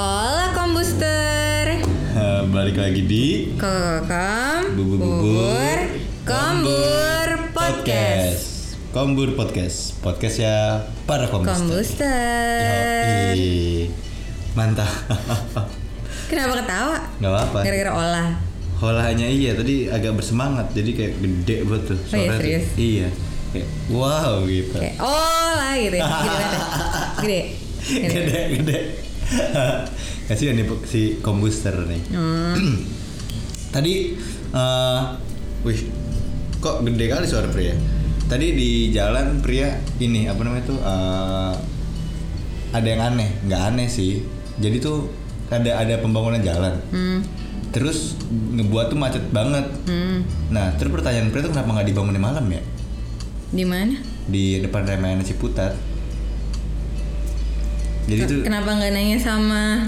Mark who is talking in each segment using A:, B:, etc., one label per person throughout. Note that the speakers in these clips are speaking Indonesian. A: Hola kombuster.
B: Eh, balik lagi di
A: Kokom
B: Bubur Bubur
A: Kombur Podcast.
B: Kombur Podcast Podcast ya para kombuster
A: Kombuster.
B: Yoi. Mantap
A: Kenapa ketawa?
B: Gak apa-apa
A: Gara-gara olah.
B: Olahannya iya tadi agak bersemangat Jadi kayak gede banget
A: Oh
B: tuh
A: iya,
B: suaranya tuh.
A: serius?
B: Iya Kayak wow gitu
A: Kayak olah gitu. ya. Gede banget. Gede. Gede.
B: Gede gede Kasihan nih si kombuster nih
A: Hmm.
B: Tadi, eh wih, kok gede kali suara pria. Tadi di jalan pria ini apa namanya tuh eh, ada yang aneh, nggak aneh sih. Jadi tuh ada ada pembangunan jalan.
A: Hmm.
B: Terus ngebuat tuh macet banget.
A: Hmm.
B: Nah, terus pertanyaan pria tuh kenapa nggak dibangunin malam ya?
A: Di mana?
B: Di depan Ramayana Ciputat. Jadi tuh
A: Kenapa nggak nanya sama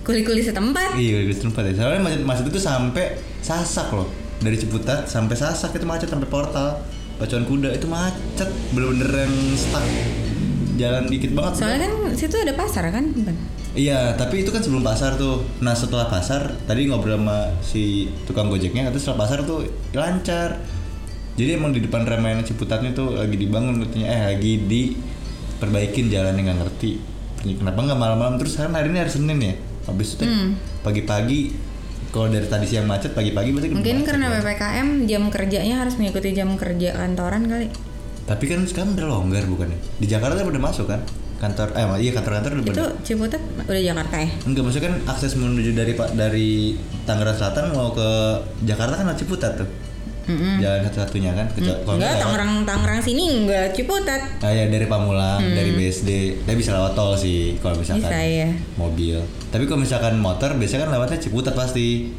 A: kuli-kuli setempat?
B: Iya, di tempat ya. Soalnya macet, macet itu sampai Sasak loh. Dari Ciputat sampai Sasak itu macet sampai portal. Pacuan kuda itu macet, bener-bener yang stuck. Jalan dikit banget.
A: Soalnya kan situ ada pasar kan? Bukan.
B: Iya, tapi itu kan sebelum pasar tuh. Nah, setelah pasar, tadi ngobrol sama si tukang gojeknya, terus setelah pasar tuh lancar. Jadi emang di depan Ramayana Ciputatnya tuh lagi dibangun katanya, eh lagi diperbaikin jalan yang nggak ngerti. Kenapa nggak malam-malam terus? Karena hari ini hari Senin ya. Habis itu
A: Hmm.
B: pagi-pagi, kalau dari tadi siang macet, pagi-pagi berarti
A: Mungkin
B: macet
A: karena
B: ya.
A: PPKM jam kerjanya harus mengikuti jam kerja kantoran kali.
B: Tapi kan sekarang udah longgar bukannya? Di Jakarta udah masuk kan? Kantor, eh iya kantor-kantor udah
A: Itu
B: pada
A: Ciputat udah Jakarta ya?
B: Enggak maksudnya kan akses menuju dari Pak dari Tangerang Selatan mau ke Jakarta kan lewat Ciputat tuh.
A: Mm-mm.
B: Jalan satu-satunya kan ke kalau
A: Hmm. Enggak,
B: lewat-
A: Tangerang Tangerang sini enggak Ciputat.
B: Ah ya dari Pamulang, dari BSD. Dia bisa lewat tol sih kalau misalkan
A: Hmm. Bisa ya.
B: mobil. Tapi kalau misalkan motor biasanya kan lewatnya Ciputat pasti.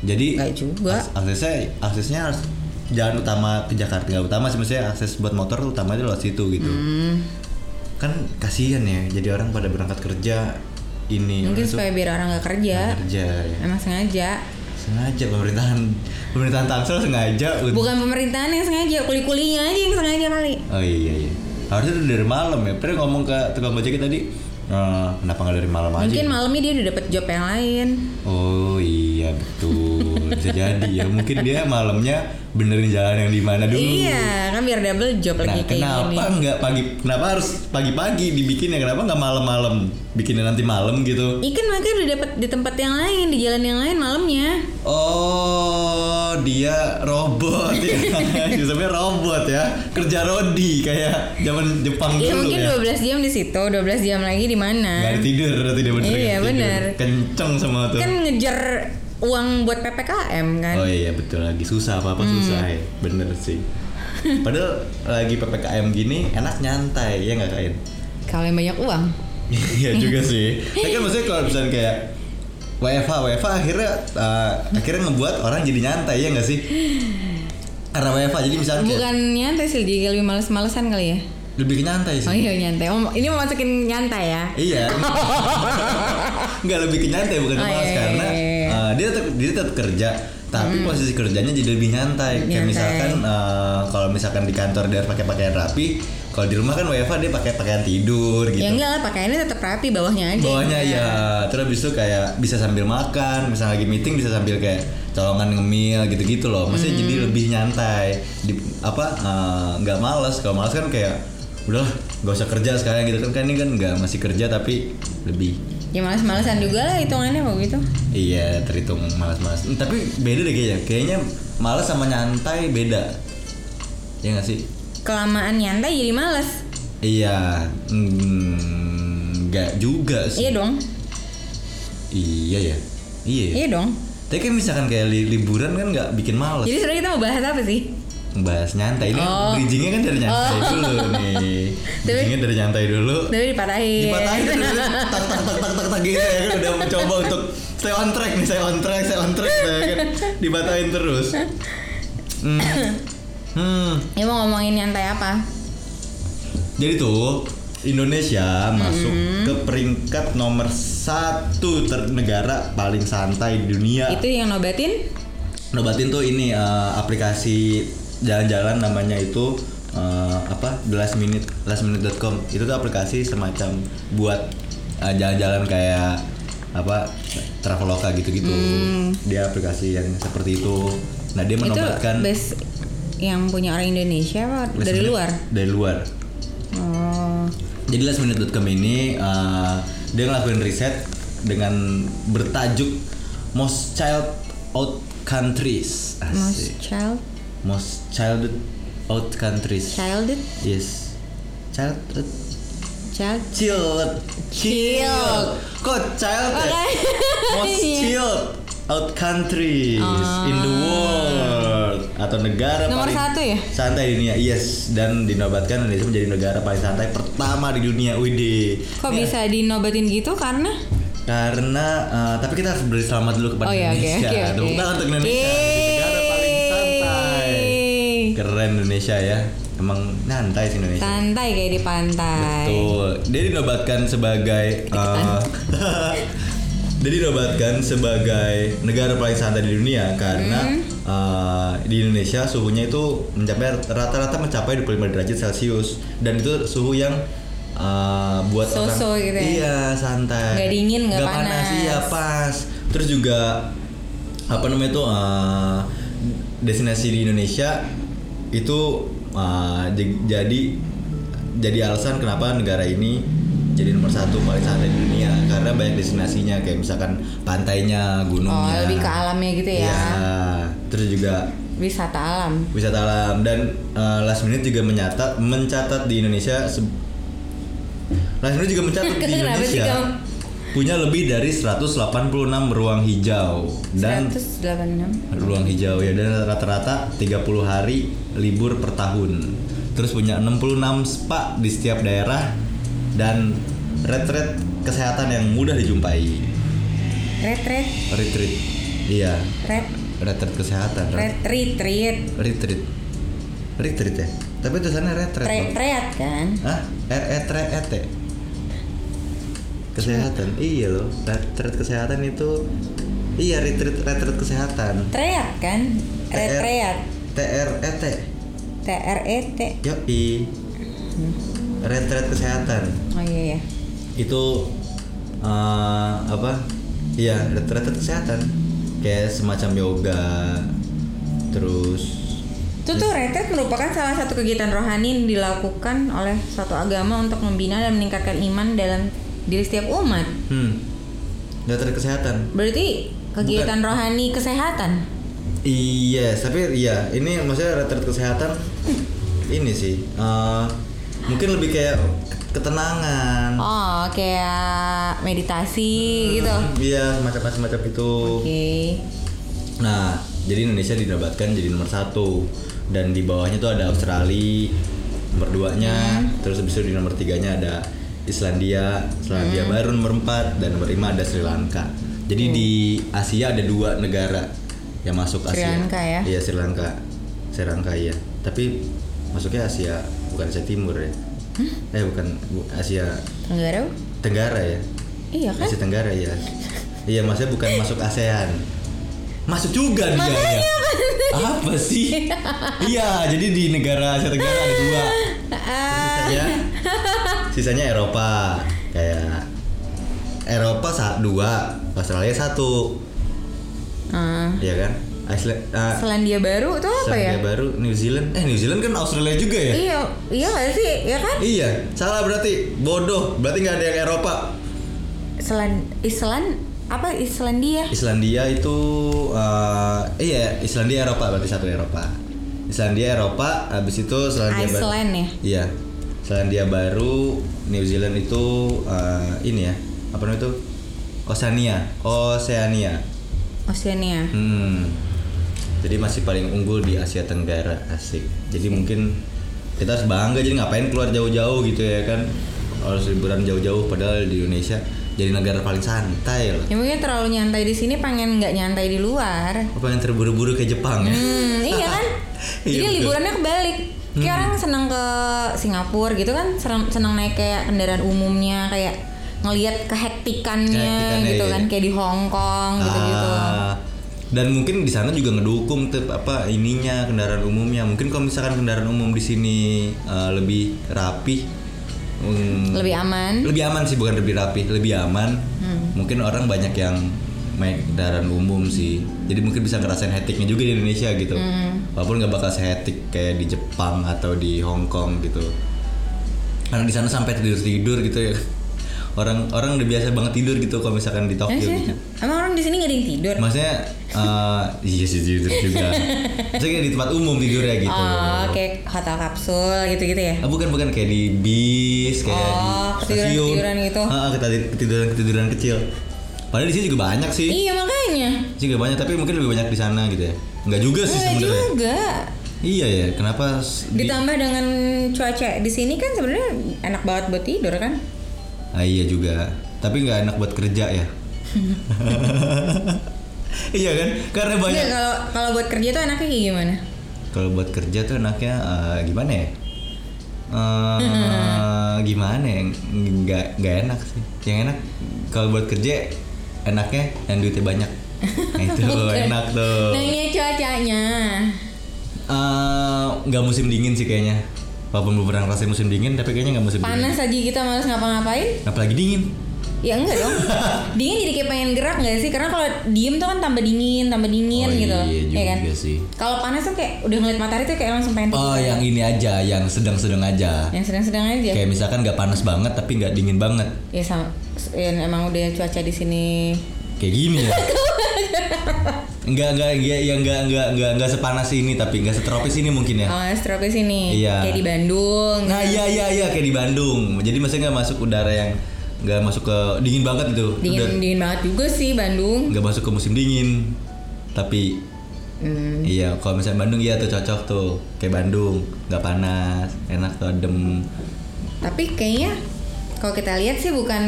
B: Jadi
A: Enggak juga.
B: aks- aksesnya aksesnya harus jalan utama ke Jakarta nggak utama sih maksudnya akses buat motor tuh utamanya lewat situ gitu
A: Hmm,
B: kan kasihan ya jadi orang pada berangkat kerja ini
A: mungkin
B: orang tuh
A: supaya biar orang nggak kerja.
B: kerja ya.
A: Emang sengaja.
B: sengaja pemerintahan pemerintahan Tangsel sengaja ut-
A: Bukan pemerintahan yang sengaja, kuli-kulinya aja yang sengaja kali.
B: oh iya iya harusnya tuh dari malam ya pernah ngomong ke tukang ojek tadi "Eh, kenapa nggak dari malam aja
A: Mungkin malamnya dia udah dapet job yang lain.
B: oh iya betul bisa jadi ya mungkin dia malamnya benerin jalan yang di mana dulu
A: Iya, kan biar double job
B: nah
A: lagi kayak gini.
B: kenapa nggak pagi kenapa harus pagi-pagi dibikin ya kenapa nggak malam-malam bikinnya nanti malam gitu
A: Ikan makanya udah dapet di tempat yang lain, di jalan yang lain malamnya.
B: Oh, dia robot ya. Sistemnya robot ya. Kerja rodi kayak zaman Jepang
A: Iya,
B: dulu
A: mungkin
B: ya.
A: 12 jam di situ, 12 jam lagi di
B: Gak ada
A: mana?
B: tidur, berarti dia bener
A: Iya,
B: nggak tidur.
A: bener.
B: Kenceng semua tuh.
A: Kan ngejar uang buat PPKM kan. Hmm.
B: Oh iya betul lagi susah apa apa susah ya. Bener sih. Padahal lagi ppkm gini enak nyantai ya nggak kain?
A: Kalau yang banyak uang.
B: Iya juga sih. Tapi kan maksudnya kalau misalnya kayak WFH, WFH akhirnya eh, akhirnya ngebuat orang jadi nyantai ya nggak sih? Karena WFH jadi misalnya kayak-
A: Bukan nyantai sih, jadi lebih males-malesan kali ya.
B: lebih ke nyantai sih.
A: Oh iya nyantai. Oh, ini mau masukin nyantai ya.
B: Iya. Nggak lebih ke nyantai bukan
A: Oh,
B: ke
A: iya,
B: malas
A: iya,
B: karena
A: iya. Hmm.
B: uh, dia tetap dia tetap kerja tapi posisi kerjanya jadi lebih nyantai. Kayak
A: Nyantai.
B: misalkan uh, kalau misalkan di kantor dia harus pakai pakaian rapi, kalau di rumah kan WFH dia pakai pakaian tidur
A: Ya
B: gitu.
A: enggak lah pakaiannya tetap rapi bawahnya aja.
B: Bawahnya ya, terus habis itu kayak bisa sambil makan, misalnya lagi meeting bisa sambil kayak colongan ngemil gitu-gitu loh. Maksudnya jadi
A: Hmm.
B: lebih nyantai. Di, apa uh, nggak males. Kalau males kan kayak udahlah nggak usah kerja sekarang gitu kan kan ini kan nggak masih kerja tapi lebih
A: Ya males-malesan juga lah hitungannya kalau gitu.
B: Iya, terhitung malas-malas. Hmm, Tapi beda deh kayaknya. Kayaknya malas sama nyantai beda. Ya nggak sih?
A: Kelamaan nyantai jadi males.
B: Iya, mm, nggak juga sih.
A: Iya dong.
B: Iya ya. Iya. ya.
A: Iya dong.
B: Tapi kan misalkan kayak li- liburan kan nggak bikin malas.
A: Jadi sebenarnya kita mau bahas apa sih?
B: Bahas nyantai ini
A: Iya. Oh.
B: bridgingnya kan dari nyantai dulu nih. Bridgingnya dari nyantai dulu.
A: Tapi dipatahin.
B: Dipatahin dulu, tak tak tak tak tak tak gitu ya kan udah mencoba untuk stay on track nih, stay on track, stay on track ya kan dipatahin terus. Hmm. Hmm.
A: Ya mau ngomongin nyantai apa?
B: Jadi tuh Indonesia masuk ke peringkat nomor satu ter negara paling santai di dunia.
A: Itu yang nobatin?
B: Nobatin tuh ini eh, aplikasi jalan-jalan namanya itu eh, apa? The Last Minute, lastminute.com. Itu tuh aplikasi semacam buat eh, jalan-jalan kayak apa traveloka gitu-gitu dia aplikasi yang seperti itu nah dia
A: Hmm. itu
B: menobatkan
A: base yang punya orang Indonesia apa
B: last
A: dari
B: minute-
A: luar?
B: dari luar
A: Oh.
B: jadi lastminute.com ini eh, dia ngelakuin riset dengan bertajuk most child out countries
A: Most
B: Asik.
A: child
B: most child out countries
A: childed
B: yes child
A: child
B: Chilled
A: Chilled.
B: Kok child ya?
A: Makanya.
B: Most chilled out countries in the world atau negara
A: Ah. Nomor
B: paling
A: satu ya?
B: santai di dunia yes dan dinobatkan Indonesia menjadi negara paling santai pertama di dunia Widi
A: kok bisa dinobatin gitu karena
B: karena eh, tapi kita harus beri selamat dulu
A: Oh
B: kepada
A: ya oke
B: Indonesia
A: oke oke.
B: tepuk tangan untuk Indonesia menjadi negara paling santai
A: Yeay.
B: keren Indonesia ya emang nyantai sih Indonesia
A: Santai kayak di pantai.
B: Betul. Dia dinobatkan sebagai uh, Dia dinobatkan sebagai negara paling santai di dunia
A: Hmm.
B: karena uh, di Indonesia suhunya itu mencapai rata-rata mencapai 25 derajat Celcius dan itu suhu yang uh, buat
A: So-so
B: orang
A: gitu ya?
B: iya santai
A: Nggak dingin, nggak panas.
B: iya pas terus juga apa namanya itu eh, destinasi di Indonesia itu eh, j- jadi jadi alasan kenapa negara ini jadi nomor satu paling santai di dunia karena banyak destinasinya kayak misalkan pantainya
A: Oh,
B: gunungnya
A: lebih ke alamnya gitu ya.
B: Iya. terus juga
A: Wisata alam.
B: wisata alam dan eh, last minute juga mencatat mencatat di Indonesia se- last minute juga mencatat di
A: Kenapa sih
B: Indonesia
A: kamu?
B: punya lebih dari 186 ruang hijau dan
A: 186.
B: ruang hijau ya dan rata-rata 30 hari libur per tahun terus punya 66 spa di setiap daerah dan retret kesehatan yang mudah dijumpai
A: Retreat,
B: retreat iya
A: ret,
B: retret kesehatan retret.
A: retreat, retreat,
B: retreat retreat ya tapi tulisannya
A: retreat,
B: retret loh.
A: retreat kan?
B: Hah? R E T R E T kesehatan iya loh retret kesehatan itu iya retreat retret kesehatan
A: Treat kan? Retreat.
B: T R E T
A: T R E T.
B: yo i retret kesehatan
A: Oh iya ya.
B: itu eh, apa iya retret kesehatan kayak semacam yoga terus
A: Itu tuh retreat merupakan salah satu kegiatan rohani yang dilakukan oleh suatu agama untuk membina dan meningkatkan iman dalam diri setiap umat.
B: hmm retret kesehatan
A: Berarti kegiatan rohani kesehatan.
B: Iya, tapi iya ini maksudnya retret kesehatan ini sih eh, mungkin lebih kayak ketenangan.
A: Oh, kayak meditasi gitu.
B: Iya, semacam semacam itu.
A: Oke.
B: Nah, jadi Indonesia dinobatkan jadi nomor satu dan di bawahnya tuh ada Australia nomor duanya,
A: Hmm.
B: terus habis itu di nomor tiganya ada Islandia, Islandia
A: Hmm.
B: baru nomor empat dan nomor lima ada Sri Lanka. Jadi di Asia ada dua negara yang masuk
A: Sri
B: Asia.
A: Lanka ya?
B: Iya Sri Lanka, Sri Lanka iya. Tapi masuknya Asia bukan Asia Timur ya? Eh bukan bu- Asia
A: Tenggara?
B: Tenggara ya?
A: Iya kan?
B: Asia Tenggara ya. Iya, maksudnya bukan masuk ASEAN. Masuk juga dia. ya. Apa sih? iya, jadi di negara Asia Tenggara ada dua. Terus
A: Ah.
B: Sisanya, sisanya Eropa kayak Eropa sa- dua, Australia satu,
A: Ah.
B: ya kan? Iceland, ah,
A: Selandia Baru tuh apa ya?
B: Selandia Baru, New Zealand. Eh, New Zealand kan Australia juga ya?
A: Iya, iya gak sih? Ya kan?
B: Iya, salah berarti bodoh. Berarti nggak ada yang Eropa.
A: Selan Islan apa Islandia?
B: Islandia itu eh iya Islandia Eropa berarti satu Eropa. Islandia Eropa habis itu Islandia baru.
A: Iceland ya?
B: Iya. Islandia baru New Zealand itu eh, ini ya. Apa namanya itu? Oceania. Oceania.
A: Oceania.
B: Hmm. Jadi masih paling unggul di Asia Tenggara, asik. Jadi mungkin kita harus bangga jadi ngapain keluar jauh-jauh gitu ya kan? Harus liburan jauh-jauh padahal di Indonesia jadi negara paling santai loh.
A: Ya mungkin terlalu nyantai di sini pengen nggak nyantai di luar.
B: Apa yang terburu-buru ke Jepang ya?
A: Hmm, iya kan?
B: Iya,
A: Jadi
B: betul. Hmm.
A: liburannya kebalik. Kayak orang senang ke Singapura gitu kan, senang, senang naik kayak kendaraan umumnya kayak ngelihat kehektikannya
B: Kehektikannya,
A: gitu
B: iya.
A: kan kayak di Hong Kong gitu-gitu.
B: Ah, dan mungkin di sana juga ngedukung tuh apa ininya kendaraan umumnya. Mungkin kalau misalkan kendaraan umum di sini eh, lebih rapi Hmm.
A: lebih aman Hmm.
B: lebih aman sih bukan lebih rapi lebih aman mungkin orang banyak yang naik kendaraan umum sih jadi mungkin bisa ngerasain hektiknya juga di Indonesia gitu
A: Hmm.
B: walaupun nggak bakal sehetik kayak di Jepang atau di Hong Kong gitu karena di sana sampai tidur tidur gitu ya orang orang udah biasa banget tidur gitu kalau misalkan di Tokyo
A: Emang Iya sih,
B: gitu
A: emang orang di sini nggak ada yang tidur
B: maksudnya eh, iya sih tidur juga maksudnya kayak di tempat umum tidurnya gitu
A: oh kayak hotel kapsul gitu-gitu ya
B: Ah, bukan bukan kayak di bis kayak
A: Oh,
B: di stasiun
A: ketiduran-ketiduran gitu.
B: Ah, ah, ketadi- ketiduran ketiduran kecil padahal di sini juga banyak sih
A: iya makanya
B: Di sini juga banyak tapi mungkin lebih banyak di sana gitu ya nggak juga sih
A: enggak
B: sebenarnya
A: juga
B: iya ya kenapa s- di-
A: ditambah dengan cuaca di sini kan sebenarnya enak banget buat tidur kan
B: ah, iya juga tapi nggak enak buat kerja ya iya kan karena banyak
A: Nggak, kalau kalau buat kerja tuh enaknya kayak gimana
B: kalau buat kerja tuh enaknya eh, gimana ya Eh, gimana ya nggak nggak enak sih yang enak kalau buat kerja enaknya yang duitnya banyak Nah, itu enak tuh
A: nah ini cuacanya
B: Eh, nggak musim dingin sih kayaknya walaupun beberapa rasanya musim dingin tapi kayaknya nggak musim dingin
A: panas aja kita males ngapa-ngapain
B: apalagi dingin
A: ya enggak dong dingin jadi kayak pengen gerak nggak sih karena kalau diem tuh kan tambah dingin tambah dingin
B: Oh,
A: gitu
B: iya
A: ya
B: juga
A: kan
B: sih.
A: kalau panas tuh kayak udah ngeliat matahari tuh kayak langsung pengen
B: oh yang ini aja yang sedang-sedang aja
A: yang sedang-sedang aja
B: kayak misalkan nggak panas banget tapi nggak dingin banget
A: ya sama ya, emang udah cuaca di sini
B: kayak gini ya Enggak, enggak, ya, ya enggak, enggak, enggak, enggak sepanas ini tapi enggak setropis ini mungkin ya.
A: oh, strobe sini
B: Iya.
A: kayak di Bandung
B: Nah, iya iya iya kayak di Bandung. Jadi maksudnya enggak masuk udara yang enggak masuk ke dingin banget itu.
A: dingin
B: Udah
A: dingin banget juga sih Bandung
B: enggak masuk ke musim dingin. Tapi
A: Hmm,
B: iya kalau misalnya Bandung iya tuh cocok tuh. Kayak Bandung, enggak panas, enak tuh adem.
A: tapi kayaknya kalau kita lihat sih bukan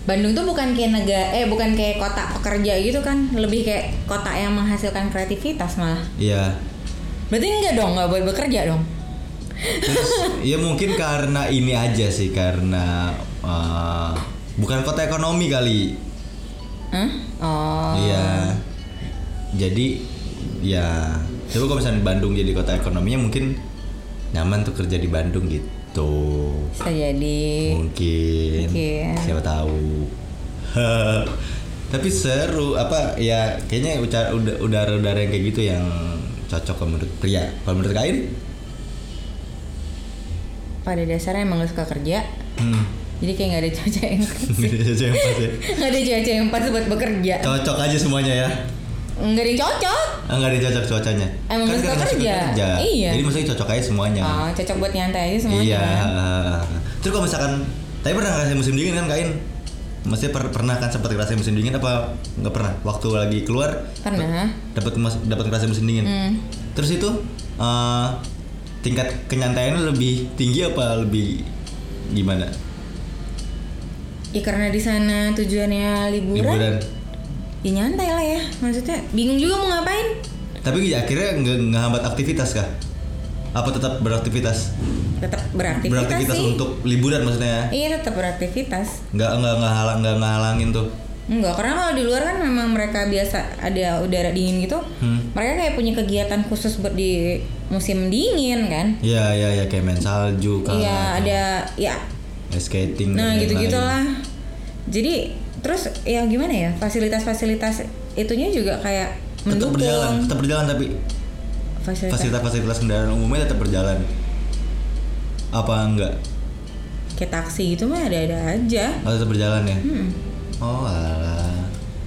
A: Bandung tuh bukan kayak negara eh bukan kayak kota pekerja gitu kan lebih kayak kota yang menghasilkan kreativitas malah
B: Iya.
A: berarti enggak dong nggak buat bekerja dong
B: Terus ya mungkin karena ini aja sih karena eh, bukan kota ekonomi kali.
A: Hah? oh
B: Iya. Jadi ya coba kalau misalnya Bandung jadi kota ekonominya mungkin nyaman tuh kerja di Bandung gitu.
A: bisa jadi
B: Mungkin.
A: Mungkin.
B: Siapa tahu. Tapi seru apa ya kayaknya uca- uda- udara-udara yang kayak gitu yang cocok kalau menurut pria. Kalau menurut kain?
A: pada dasarnya emang gak suka kerja
B: Hmm.
A: jadi kayak nggak ada cuaca yang
B: Siapa sih?
A: nggak ada cuaca yang pas buat bekerja
B: cocok aja semuanya ya.
A: nggak ada yang cocok
B: Enggak ada yang cocok cuacanya. Kan
A: Emang nggak suka
B: karena nggak
A: kerja. Iya.
B: Jadi maksudnya cocok aja semuanya.
A: oh cocok buat nyantai aja semuanya
B: Ya. Iya.
A: kan?
B: Terus kalau misalkan, tapi pernah ngerasain musim dingin kan kain? Maksudnya per- pernah kan sempat ngerasain musim dingin apa nggak pernah? Waktu lagi keluar
A: pernah
B: dapat mas- dapat ngerasain musim dingin.
A: Hmm.
B: Terus itu eh, tingkat kenyantaian lebih tinggi apa lebih gimana?
A: Ya karena di sana tujuannya liburan,
B: Liburan.
A: ya nyantai lah ya. Maksudnya bingung juga mau ngapain.
B: Tapi ya akhirnya nggak ngehambat aktivitas kah? Apa tetap beraktivitas?
A: Tetap beraktivitas,
B: beraktivitas
A: sih.
B: untuk liburan maksudnya? ya?
A: Iya tetap beraktivitas.
B: Nggak nggak nggak halang nggak ngehalangin tuh?
A: Enggak, karena kalau di luar kan memang mereka biasa ada udara dingin gitu.
B: Hmm.
A: Mereka kayak punya kegiatan khusus buat di musim dingin kan.
B: Iya iya iya kayak main salju kan?
A: Iya, ada ya.
B: Ice skating
A: Nah,
B: dan
A: gitu-gitu
B: lain-lain.
A: lah. Jadi terus ya gimana ya? Fasilitas-fasilitas itunya juga kayak
B: tetap
A: mendukung
B: berjalan tetap berjalan tapi
A: fasilitas
B: fasilitas-fasilitas kendaraan umumnya tetap berjalan apa enggak
A: kayak taksi gitu mah ada-ada aja.
B: oh, tetap berjalan ya
A: Hmm.
B: oh alah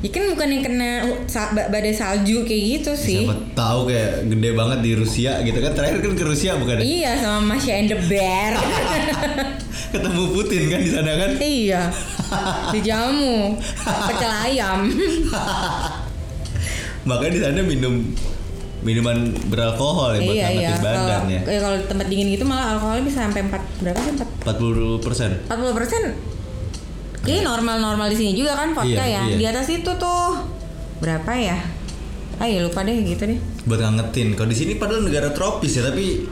A: Ya kan bukan yang kena sa- ba- badai salju kayak gitu sih.
B: Iya, siapa tahu kayak gede banget di Rusia gitu kan terakhir kan ke Rusia bukan ya?
A: Iya sama Masya and the Bear.
B: ketemu Putin kan di sana kan
A: iya. Dijamu pecel ayam.
B: makanya di sana minum minuman beralkohol ya
A: iya
B: buat
A: iya.
B: ngangetin badan
A: Kalau
B: ya
A: eh, kalau di tempat dingin gitu malah alkoholnya bisa sampai 4 berapa sih? 4
B: 40 persen
A: 40 persen. Kayaknya normal-normal di sini juga kan vodka
B: Iya,
A: ya.
B: iya.
A: Di atas itu tuh berapa ya? Ah ya lupa deh gitu deh.
B: buat ngangetin kalau di sini padahal negara tropis ya tapi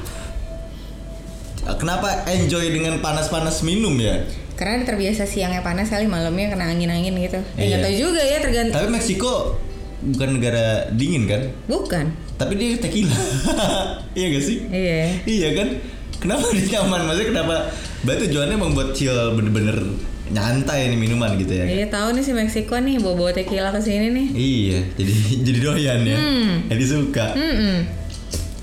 B: kenapa enjoy dengan panas-panas minum ya
A: Karena terbiasa siangnya panas kali malamnya kena angin-angin gitu. Ya,
B: Iya.
A: nggak tahu juga ya tergantung.
B: Tapi Meksiko bukan negara dingin kan?
A: Bukan.
B: Tapi dia tequila. iya gak sih?
A: Iya.
B: Iya kan? Kenapa dia nyaman? Maksudnya kenapa Berarti tujuannya emang buat chill bener-bener nyantai nih minuman gitu ya.
A: Jadi Iya, tahu nih si Meksiko nih bawa-bawa tequila ke sini nih.
B: Iya, jadi jadi doyan ya. Jadi suka.
A: Mm-mm.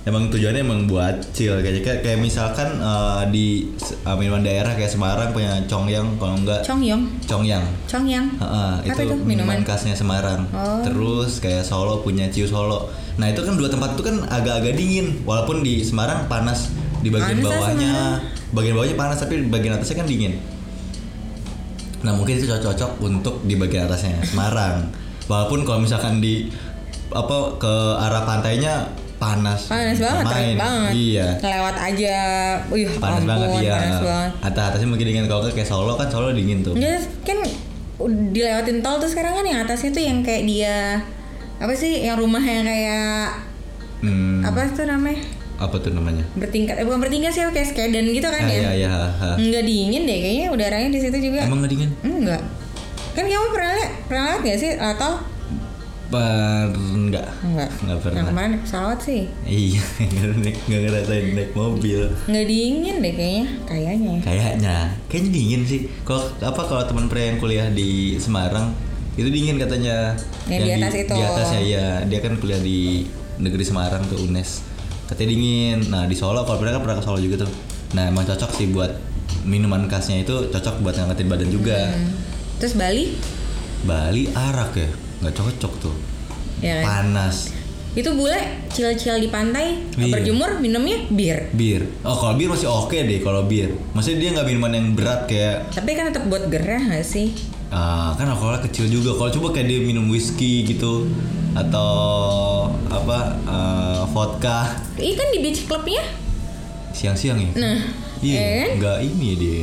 B: Emang tujuannya emang buat chill kayak kayak, kayak misalkan eh, di se- eh, minuman daerah kayak Semarang punya Congyang kalau enggak
A: Chongyong,
B: Congyang.
A: Chongyang.
B: Heeh,
A: Apa
B: itu,
A: itu?
B: minuman
A: Minuman?
B: khasnya Semarang.
A: Oh.
B: Terus kayak Solo punya Ciu Solo. Nah, itu kan dua tempat itu kan agak-agak dingin walaupun di Semarang panas di
A: Panas
B: bagian
A: lah
B: bawahnya.
A: Semarang.
B: Bagian bawahnya panas tapi bagian atasnya kan dingin. Nah mungkin itu cocok untuk di bagian atasnya Semarang. Walaupun kalau misalkan di apa ke arah pantainya panas.
A: Panas banget,
B: Nggak
A: terik banget.
B: Iya.
A: Lewat aja. Wih,
B: Panas
A: ampun,
B: banget ya.
A: panas banget.
B: Atas atasnya mungkin dingin kalau nggak kayak Solo kan Solo dingin tuh.
A: Ya kan u- dilewatin tol tuh sekarang kan yang atasnya tuh yang kayak dia apa sih yang rumah yang kayak
B: Hmm,
A: apa tuh namanya
B: apa tuh namanya?
A: bertingkat eh bukan bertingkat sih kayak skedan gitu kan
B: Ah,
A: ya
B: iya iya. ah, ah.
A: nggak dingin deh kayaknya udaranya di situ juga
B: Emang nggak dingin?
A: enggak kan kamu pernah lihat pernah lihat nggak sih atau
B: Per enggak.
A: enggak
B: Nggak pernah.
A: yang kemarin naik pesawat sih
B: Iya, nggak nggak ngerasain naik mobil.
A: nggak dingin deh kayaknya kayaknya ya.
B: Kayaknya, kayaknya dingin sih. Kalau apa kalau teman pria yang kuliah di Semarang itu dingin katanya.
A: Yang di atas itu.
B: Di atas ya, iya. Dia kan kuliah di negeri Semarang tuh UNES. Katanya dingin. Nah di Solo kalau pernah kan pernah ke Solo juga tuh. Nah emang cocok sih buat minuman khasnya itu cocok buat ngangkatin badan juga.
A: Hmm. terus Bali
B: Bali arak ya, nggak cocok tuh.
A: Ya kan?
B: Panas.
A: itu bule cil-cil di pantai
B: Iya.
A: berjemur minumnya bir
B: Bir. Oh kalau bir masih oke deh kalau bir. Maksudnya dia nggak minuman yang berat kayak
A: tapi kan tetap buat gerah nggak sih
B: Ah, kan alkoholnya kecil juga. Kalau coba kayak dia minum whisky gitu atau apa eh, vodka
A: Iya kan di beach clubnya
B: siang-siang ya.
A: Nah,
B: iya,
A: eh.
B: nggak ini ya dia.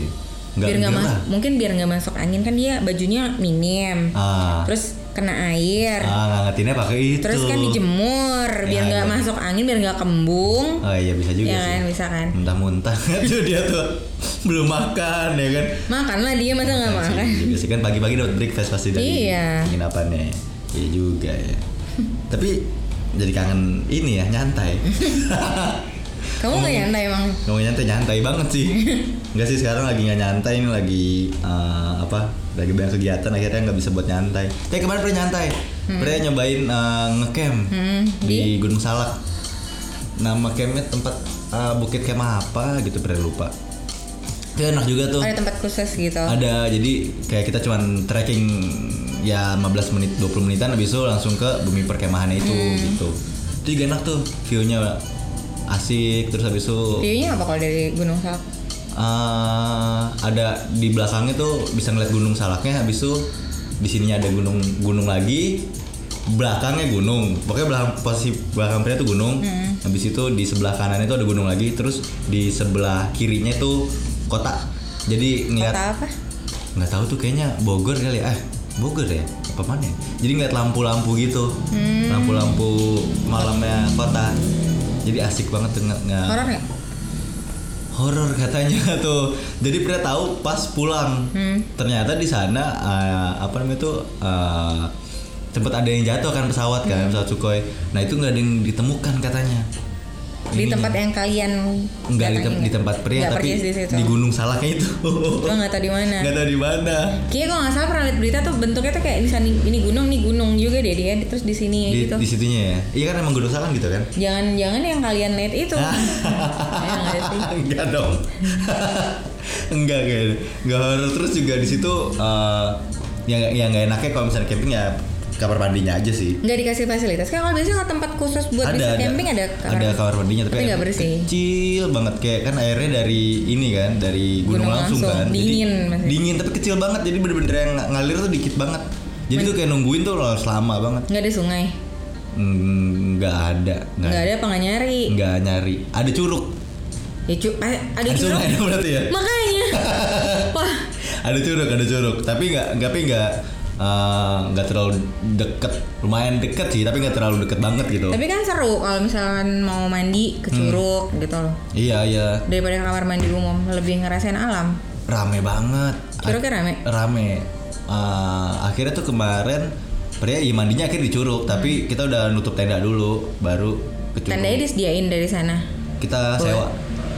B: Nggak
A: biar nggak
B: gerah.
A: masuk mungkin biar nggak masuk angin kan dia bajunya minim
B: Ah,
A: terus kena air
B: ah ngangetinnya pakai itu.
A: terus kan dijemur biar
B: Ya,
A: nggak
B: iya.
A: masuk angin biar nggak kembung
B: Oh iya bisa juga
A: ya kan
B: sih.
A: bisa kan
B: Muntah-muntah tuh dia tuh belum makan ya kan.
A: makanlah dia masa nggak makan
B: Iya juga sih kan pagi-pagi dapat breakfast pasti dari
A: Iya.
B: penginapannya. Iya juga ya. Tapi jadi kangen ini ya nyantai.
A: kamu nggak nyantai emang
B: Ngomong nyantai nyantai banget sih. Enggak sih sekarang lagi nggak nyantai ini lagi eh, apa? Lagi banyak kegiatan akhirnya nggak bisa buat nyantai. Tapi kemarin pernah nyantai. Pernah nyobain eh, ngecamp
A: Hmm,
B: di Gunung Salak. Nama campnya tempat eh, Bukit Kemah apa gitu pernah lupa. Itu enak juga tuh.
A: ada tempat khusus gitu
B: Ada, jadi kayak kita cuman trekking ya 15 menit, 20 menitan habis itu langsung ke bumi perkemahannya itu gitu. Itu juga enak tuh, view-nya asik terus habis itu
A: viewnya apa kalau dari Gunung Salak
B: eh, ada di belakangnya tuh bisa ngeliat gunung salaknya habis itu di sininya ada gunung gunung lagi belakangnya gunung pokoknya belakang posisi belakang pria tuh gunung habis itu di sebelah kanannya tuh ada gunung lagi terus di sebelah kirinya tuh kota jadi ngeliat
A: kota apa
B: Ah. nggak tahu tuh kayaknya Bogor kali ya. eh Bogor ya apa mana ya? jadi ngeliat lampu-lampu gitu
A: Hmm.
B: lampu-lampu malamnya kota jadi asik banget tuh nge- nge-
A: horor nggak
B: horor katanya tuh jadi pernah tahu pas pulang
A: Hmm.
B: ternyata di sana eh, apa namanya tuh eh, sempet ada yang jatuh kan
A: Hmm.
B: pesawat kan pesawat Sukhoi nah itu nggak ada yang ditemukan katanya
A: di
B: Ininya.
A: tempat yang kalian
B: nggak
A: datangin
B: di, tem-
A: nggak?
B: di tempat pria
A: Nggak
B: tapi
A: persis di situ Oh, nah.
B: di gunung salaknya itu
A: Gua nggak tahu di mana
B: nggak tahu di mana
A: Kayaknya kalau nggak salah pernah lihat berita tuh bentuknya tuh kayak misalnya ini gunung, nih gunung juga deh dia. Terus di sini ya
B: di,
A: gitu.
B: di situnya ya iya kan emang gunung salam gitu kan
A: Jangan-jangan yang kalian lihat itu. Ya, nggak sih?
B: enggak dong enggak kayaknya enggak horor terus juga di situ eh, yang yang nggak enaknya kalau misalnya camping ya kamar mandinya aja sih
A: Nggak dikasih fasilitas. Kan kalau biasanya kalau tempat khusus buat bisa camping ada. kamar.
B: ada kamar mandinya tapi,
A: Tapi nggak
B: airnya
A: bersih.
B: kecil banget kayak kan airnya dari ini kan dari gunung,
A: Gunung
B: langsung,
A: langsung,
B: kan Jadi
A: dingin maksudnya.
B: dingin tapi kecil banget jadi bener-bener yang ngalir tuh dikit banget jadi tuh kayak nungguin tuh loh selama banget
A: Nggak ada sungai.
B: Mm, nggak ada nggak
A: Nggak
B: ada
A: ada apa nggak nyari.
B: nggak nyari ada curug
A: Ya cu- eh, ada
B: ada
A: curug.
B: sungai dong berarti ya
A: Makanya. Wah.
B: ada curug ada curug tapi nggak nggak tapi nggak eh, nggak terlalu deket lumayan deket sih tapi nggak terlalu deket banget gitu
A: Tapi kan seru kalau misalkan mau mandi ke curug gitu loh.
B: iya iya
A: Daripada kamar mandi umum lebih ngerasain alam.
B: rame banget A-
A: Curugnya rame.
B: rame Eh, akhirnya tuh kemarin pria ya mandinya akhirnya di curug
A: Hmm.
B: tapi kita udah nutup tenda dulu baru ke curug
A: Tandanya disediain dari sana.
B: kita sewa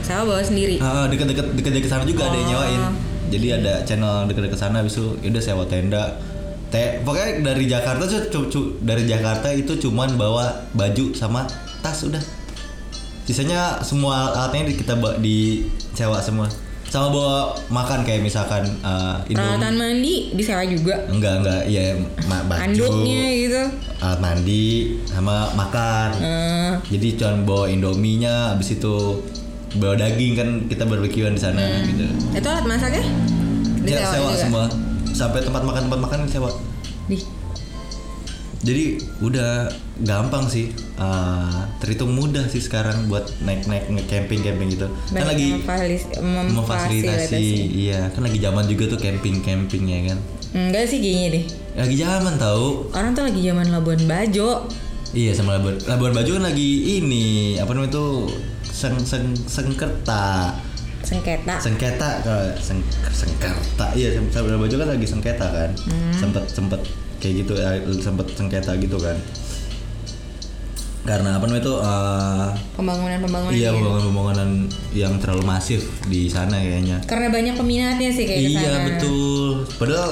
A: Sama bawa sendiri.
B: Ah, dekat-dekat dekat-dekat sana juga ada yang
A: Oh.
B: nyewain. Jadi ada channel dekat-dekat sana habis itu ya udah sewa tenda. Te pokoknya dari Jakarta tuh cu- cu- dari Jakarta itu cuman bawa baju sama tas udah. Sisanya semua alatnya di- kita ba- disewa semua. Sama bawa makan kayak misalkan eh,
A: Peralatan
B: Indomie.
A: mandi disewa juga.
B: Enggak, enggak. Iya, ma- baju.
A: Anduknya gitu.
B: Alat mandi sama makan.
A: Eh,
B: Jadi cuma bawa indominya, habis itu bawa daging kan kita barbekyuan di sana
A: Hmm.
B: gitu.
A: itu alat masaknya? Disewa
B: Dia Iya, sewa
A: juga.
B: semua sampai tempat makan tempat makan sewa.
A: Dih,
B: Jadi udah gampang sih, eh, terhitung mudah sih sekarang buat naik naik camping camping gitu. Kan
A: banyak
B: lagi
A: yang memfalis-
B: memfasilitasi,
A: memfasilitasi.
B: iya kan lagi zaman juga tuh camping camping ya kan.
A: Enggak sih kayaknya deh.
B: Lagi zaman tahu.
A: Orang tuh lagi zaman Labuan Bajo.
B: Iya sama Labuan, Labuan Bajo kan lagi ini apa namanya tuh seng seng sengketa.
A: Sengketa.
B: sengketa kalau seng, sengketa iya Sam- Sabrina Bajo kan lagi sengketa kan sempet sempet kayak gitu eh, sempet sengketa gitu kan karena apa namanya itu eh,
A: Pembangunan-pembangunan.
B: iya
A: gitu.
B: pembangunan-pembangunan yang terlalu masif di sana kayaknya
A: Karena banyak peminatnya sih kayak
B: iya
A: kesana.
B: betul padahal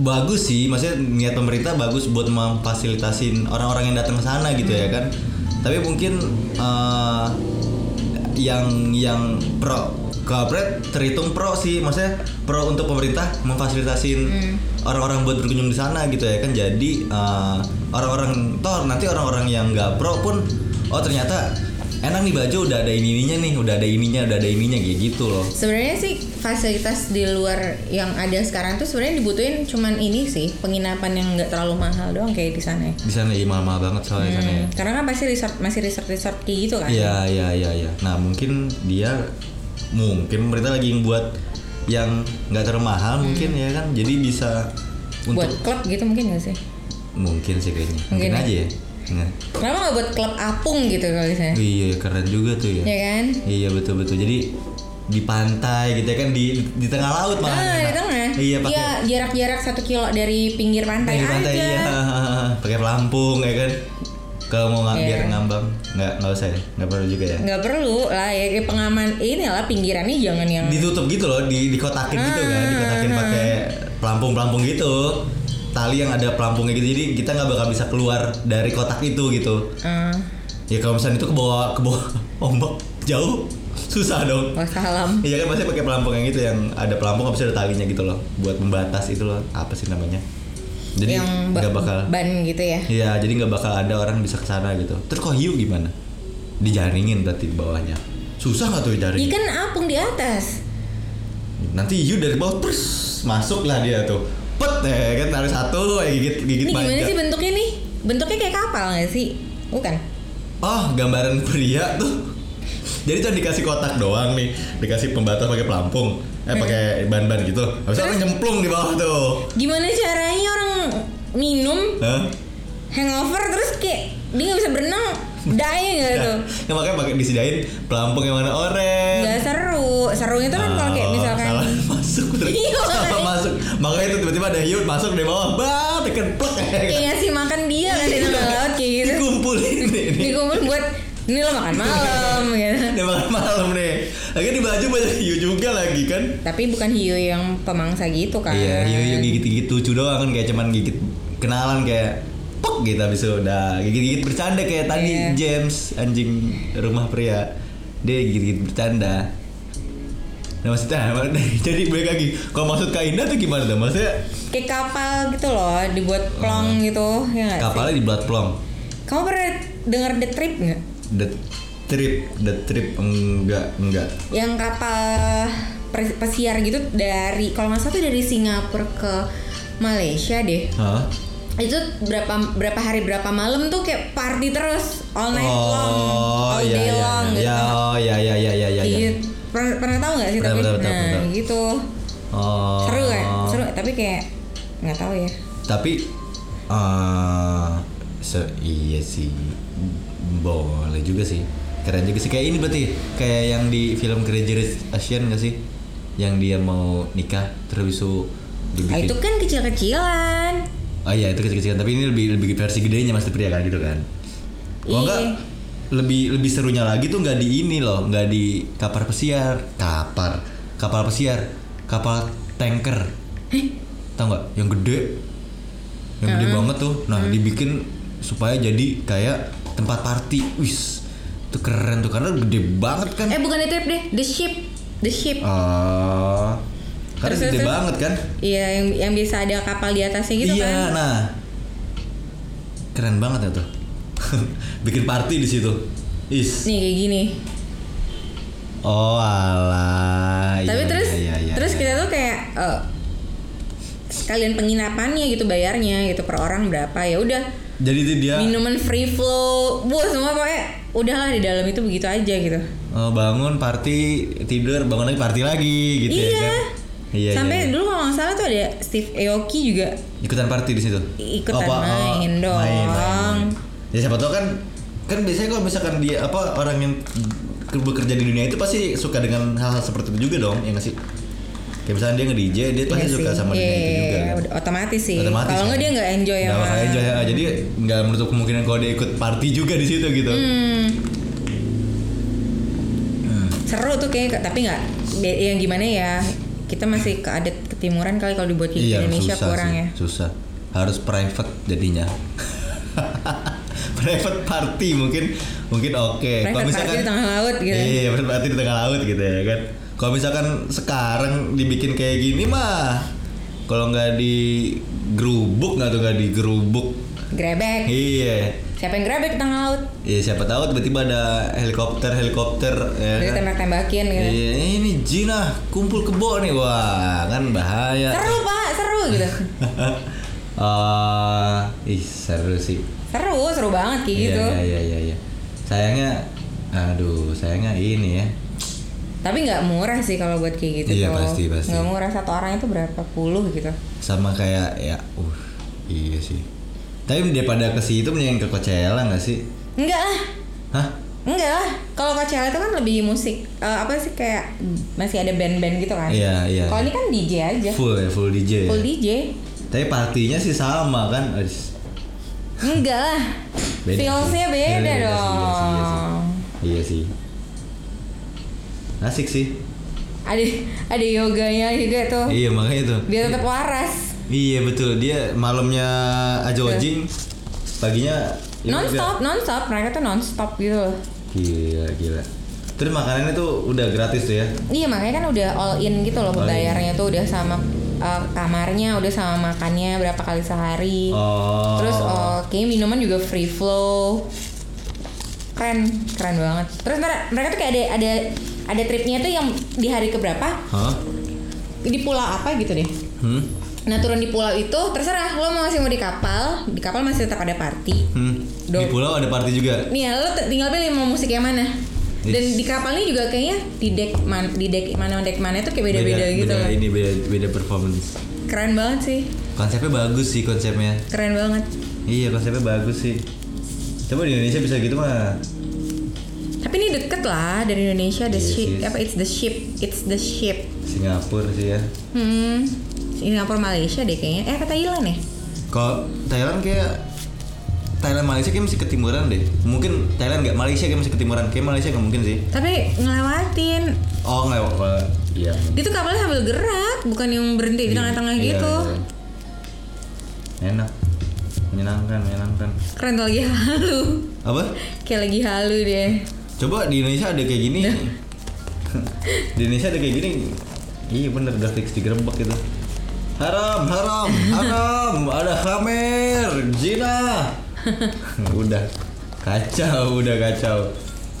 B: bagus sih maksudnya niat pemerintah bagus buat memfasilitasin orang-orang yang datang ke sana gitu ya
A: Hmm.
B: kan tapi mungkin eh, yang yang pro corporate terhitung pro sih maksudnya pro untuk pemerintah memfasilitasin
A: Hmm.
B: orang-orang buat berkunjung di sana gitu ya kan jadi eh, orang-orang toh nanti orang-orang yang nggak pro pun oh ternyata enak nih baju udah ada ininya nih udah ada ininya udah ada ininya kayak gitu loh
A: Sebenarnya sih fasilitas di luar yang ada sekarang tuh sebenarnya dibutuhin cuman ini sih penginapan yang nggak terlalu mahal doang kayak di sana. ya.
B: di sana ya mahal-mahal banget soalnya di sana ya.
A: Hmm, Karena kan pasti resort masih resort resort kayak gitu kan.
B: Iya iya iya iya. Nah mungkin dia mungkin pemerintah lagi buat yang nggak terlalu mahal mungkin ya kan. Jadi bisa untuk
A: Hmm. Buat klub gitu mungkin nggak sih?
B: mungkin sih kayaknya mungkin,
A: Mungkin ya.
B: aja ya. Nah.
A: Kenapa nggak buat klub apung gitu kalau di sana?
B: Iya keren juga tuh ya.
A: Ya kan?
B: Iya betul betul. Jadi di pantai gitu ya kan di di tengah laut malah.
A: Ah, di tengah.
B: Iya pakai
A: Iya, jarak-jarak satu kilo dari pinggir pantai,
B: Iya, di pantai
A: aja.
B: iya. pakai pelampung ya kan. Kalau mau nggak
A: Iya.
B: biar ngambang nggak nggak usah ya nggak perlu juga ya.
A: Nggak perlu lah ya kayak pengaman inilah pinggirannya jangan yang
B: ditutup gitu loh di dikotakin gitu kan
A: Ah.
B: dikotakin pakai pelampung pelampung gitu tali yang ada pelampungnya gitu jadi kita nggak bakal bisa keluar dari kotak itu gitu
A: eh,
B: ya kalau misalnya itu ke bawah ke bawah ombak jauh susah dong
A: wassalam.
B: iya kan pasti pakai pelampung yang itu yang ada pelampung habis ada talinya gitu loh buat membatas itu loh apa sih namanya jadi
A: yang ba-
B: nggak bakal
A: ban gitu ya.
B: iya jadi nggak bakal ada orang bisa kesana gitu terus kok hiu gimana dijaringin berarti di bawahnya susah nggak
A: Iya
B: tuh dijaringin
A: kan apung di atas.
B: nanti hiu dari bawah terus masuk lah dia tuh pet ya kan taruh satu ya gigit gigit
A: Ini gimana
B: manja.
A: sih bentuknya nih? Bentuknya kayak kapal nggak sih? Bukan.
B: oh gambaran pria tuh jadi cuma dikasih kotak doang nih dikasih pembatas pakai pelampung eh pakai ban-ban gitu habis itu orang nyemplung di bawah tuh
A: Gimana caranya orang minum
B: Hah?
A: hangover terus kayak dia nggak bisa berenang dying nggak tuh?
B: Ya, makanya pakai disediain pelampung yang warna
A: Nggak
B: oranye
A: seru. Serunya tuh kan kalau kayak
B: Oh,
A: misalkan
B: salah masuk
A: Iya,
B: salah
A: makanya.
B: masuk makanya itu tiba-tiba ada hiu masuk dari bawah bah tekan plek ya
A: kayak
B: kan.
A: ngasih makan dia kan di tengah laut kayak gitu.
B: dikumpulin ini
A: Dikumpul buat ini lo makan malam gitu.
B: Udah malam malam nih. Lagi di baju banyak hiu juga lagi kan.
A: Tapi bukan hiu yang pemangsa gitu kan?
B: Iya, hiu hiu gigit gigit lucu doang kan kayak cuman gigit kenalan kayak pok gitu habis itu udah gigit gigit bercanda kayak tadi
A: Iya.
B: James anjing rumah pria dia gigit gigit bercanda. Nah maksudnya jadi balik lagi kalau maksud Kak Indah tuh gimana tuh? Maksudnya
A: Kayak kapal gitu loh, dibuat
B: Oh.
A: plong gitu ya nggak sih?
B: kapalnya dibuat plong.
A: Kamu pernah dengar The Trip nggak?
B: The trip, the trip enggak enggak.
A: Yang kapal per- pesiar gitu dari kalau nggak salah tuh dari Singapura ke Malaysia deh.
B: Hah?
A: Itu berapa berapa hari berapa malam tuh kayak party terus all night long, all
B: Oh, iya,
A: day
B: iya,
A: long
B: iya.
A: gitu.
B: Ya, oh ya ya ya ya ya. ya.
A: Gitu. Pernah, pernah tahu nggak sih
B: Pernah,
A: tapi
B: pernah, pernah,
A: nah
B: pernah.
A: gitu
B: Oh.
A: seru kan seru tapi kayak nggak tahu ya
B: Tapi eh se- iya sih boleh juga sih. Keren juga sih kayak ini berarti kayak yang di film Graduate Asian gak sih? Yang dia mau nikah terus habis itu
A: Ah,
B: dibikin.
A: itu kan kecil-kecilan
B: ya, Oh iya itu kecil-kecilan tapi ini lebih lebih versi gedenya Mas Pria kan gitu kan. Gua
A: Iya.
B: enggak lebih lebih serunya lagi tuh nggak di ini loh nggak di kapal pesiar kapal kapal pesiar kapal tanker tau nggak yang gede yang gede banget tuh nah dibikin supaya jadi kayak tempat party wis itu keren tuh karena gede banget kan
A: Eh bukan itu ya, deh, the ship, the ship.
B: Oh. Ah, karena
A: Terus,
B: gede
A: terus.
B: banget kan
A: Iya yang yang bisa ada kapal di atasnya gitu
B: iya,
A: kan.
B: nah. Keren banget ya tuh. Bikin party di situ. Is.
A: Nih kayak gini.
B: Oh, alah.
A: Tapi
B: Iya,
A: terus
B: iya, iya,
A: terus
B: iya.
A: kita tuh kayak eh, sekalian penginapannya gitu bayarnya gitu per orang berapa ya udah
B: jadi itu dia
A: minuman free flow bu semua pokoknya udahlah di dalam itu begitu aja gitu
B: eh, bangun party, tidur, bangun lagi party lagi gitu ya
A: Iya.
B: kan. Iya.
A: sampai
B: iya.
A: dulu kalau nggak salah tuh ada Steve Aoki juga
B: ikutan party di situ.
A: Ikutan
B: Apa, oh,
A: main dong.
B: Main, main. Ya siapa tau kan kan biasanya kalau misalkan dia apa orang yang bekerja di dunia itu pasti suka dengan hal-hal seperti itu juga dong, ya nggak sih? Kayak misalnya dia nge-DJ, dia pasti
A: Iya
B: suka
A: sih.
B: sama dunia itu
A: Iya,
B: juga. kan?
A: udah otomatis sih
B: Otomatis
A: kalau nggak
B: kan?
A: dia nggak enjoy
B: Nggak
A: sama
B: bakal enjoy ya. jadi nggak menutup kemungkinan kalau dia ikut party juga di situ gitu
A: Hmm. seru tuh kayak tapi nggak be- yang gimana ya kita masih ke adat ketimuran kali kalau dibuat di Indonesia kurang
B: sih,
A: ya
B: Iya, susah harus private jadinya private party mungkin mungkin oke Kalau
A: Private party
B: misalkan-
A: di tengah laut gitu
B: iya private party di tengah laut gitu ya kan kalau misalkan sekarang dibikin kayak gini mah kalau nggak di gerubuk nggak tuh nggak di gerubuk
A: grebek
B: iya
A: siapa yang grebek di tengah laut
B: Iya siapa tahu tiba-tiba ada helikopter helikopter ya
A: Jadi
B: kan?
A: tembak-tembakin gitu
B: Iya, ini Jina kumpul kebo nih. Wah, kan bahaya.
A: seru pak seru gitu
B: Eh, ih, seru sih.
A: seru seru banget kayak gitu
B: Iya, iya, iya, iya. Sayangnya aduh, sayangnya ini ya.
A: tapi nggak murah sih kalau buat kayak gitu
B: Iya,
A: tuh.
B: pasti, pasti.
A: nggak murah satu orang itu berapa puluh gitu
B: Sama kayak ya, uh, iya sih. Tapi daripada ke situ mendingan ke Coachella nggak sih?
A: enggak lah
B: Hah?
A: enggak lah kalau Coachella itu kan lebih musik eh, apa sih kayak masih ada band-band gitu kan
B: Iya, iya.
A: kalau ini kan DJ aja
B: Full ya, full DJ. ya?
A: full DJ
B: Tapi partinya sih sama kan. Aduh,
A: enggak lah
B: Beda sih.
A: feelsnya beda,
B: Iya, iya sih,
A: dong
B: iya sih, iya sih. Iya sih. Asik sih.
A: ada ada yoganya juga tuh
B: Iya makanya tuh.
A: Oh. biar tetap waras
B: Iya betul dia malamnya ajojing, paginya ya
A: Iya. non
B: udah.
A: stop non stop mereka tuh non stop gitu loh
B: Gila gila. Terus makanannya tuh udah gratis tuh ya?
A: Iya makanya kan udah all in gitu loh
B: All in.
A: bayarnya tuh udah sama uh, kamarnya, udah sama makannya berapa kali sehari.
B: Oh.
A: Iya. Terus uh, kayaknya minuman juga free flow. Keren, keren banget. Terus ntar mereka tuh kayak ada ada ada tripnya tuh yang di hari keberapa
B: Hah?
A: di pulau apa gitu deh.
B: Hmm?
A: Nah turun di pulau itu terserah lo mau masih mau di kapal, di kapal masih tetap ada party.
B: Hmm. Di
A: Dok.
B: pulau ada party juga.
A: Nih ya, lo t- tinggal pilih mau musik yang mana. Dan
B: Yes.
A: di kapal ini juga kayaknya di deck man, di deck mana deck mana itu kayak beda-beda gitu.
B: Beda
A: loh.
B: ini beda beda performance.
A: Keren banget sih,
B: Konsepnya bagus sih konsepnya.
A: keren banget.
B: Iya konsepnya bagus sih. Coba di Indonesia bisa gitu mah.
A: Tapi ini deket lah dari Indonesia the
B: Yes,
A: ship
B: yes.
A: apa it's the ship it's the ship.
B: Singapura sih ya.
A: Hmm, Singapura Malaysia deh kayaknya. Eh ke Thailand ya?
B: Kalau Thailand kayak Thailand Malaysia kayak masih ketimuran deh. Mungkin Thailand nggak Malaysia kayak masih ketimuran. Kayak Malaysia nggak mungkin sih.
A: Tapi ngelewatin.
B: Oh nggak apa. Iya.
A: Itu kapalnya sambil gerak, bukan yang berhenti di tengah-tengah
B: Iya,
A: gitu.
B: iya. Enak. Menyenangkan, menyenangkan.
A: Keren tuh lagi halu.
B: Apa?
A: Kayak lagi halu deh.
B: Coba di Indonesia ada kayak gini. di Indonesia ada kayak gini. Iya bener, udah fix digerebek gitu. Haram, haram, haram, ada khamer, zina. udah kacau, udah kacau.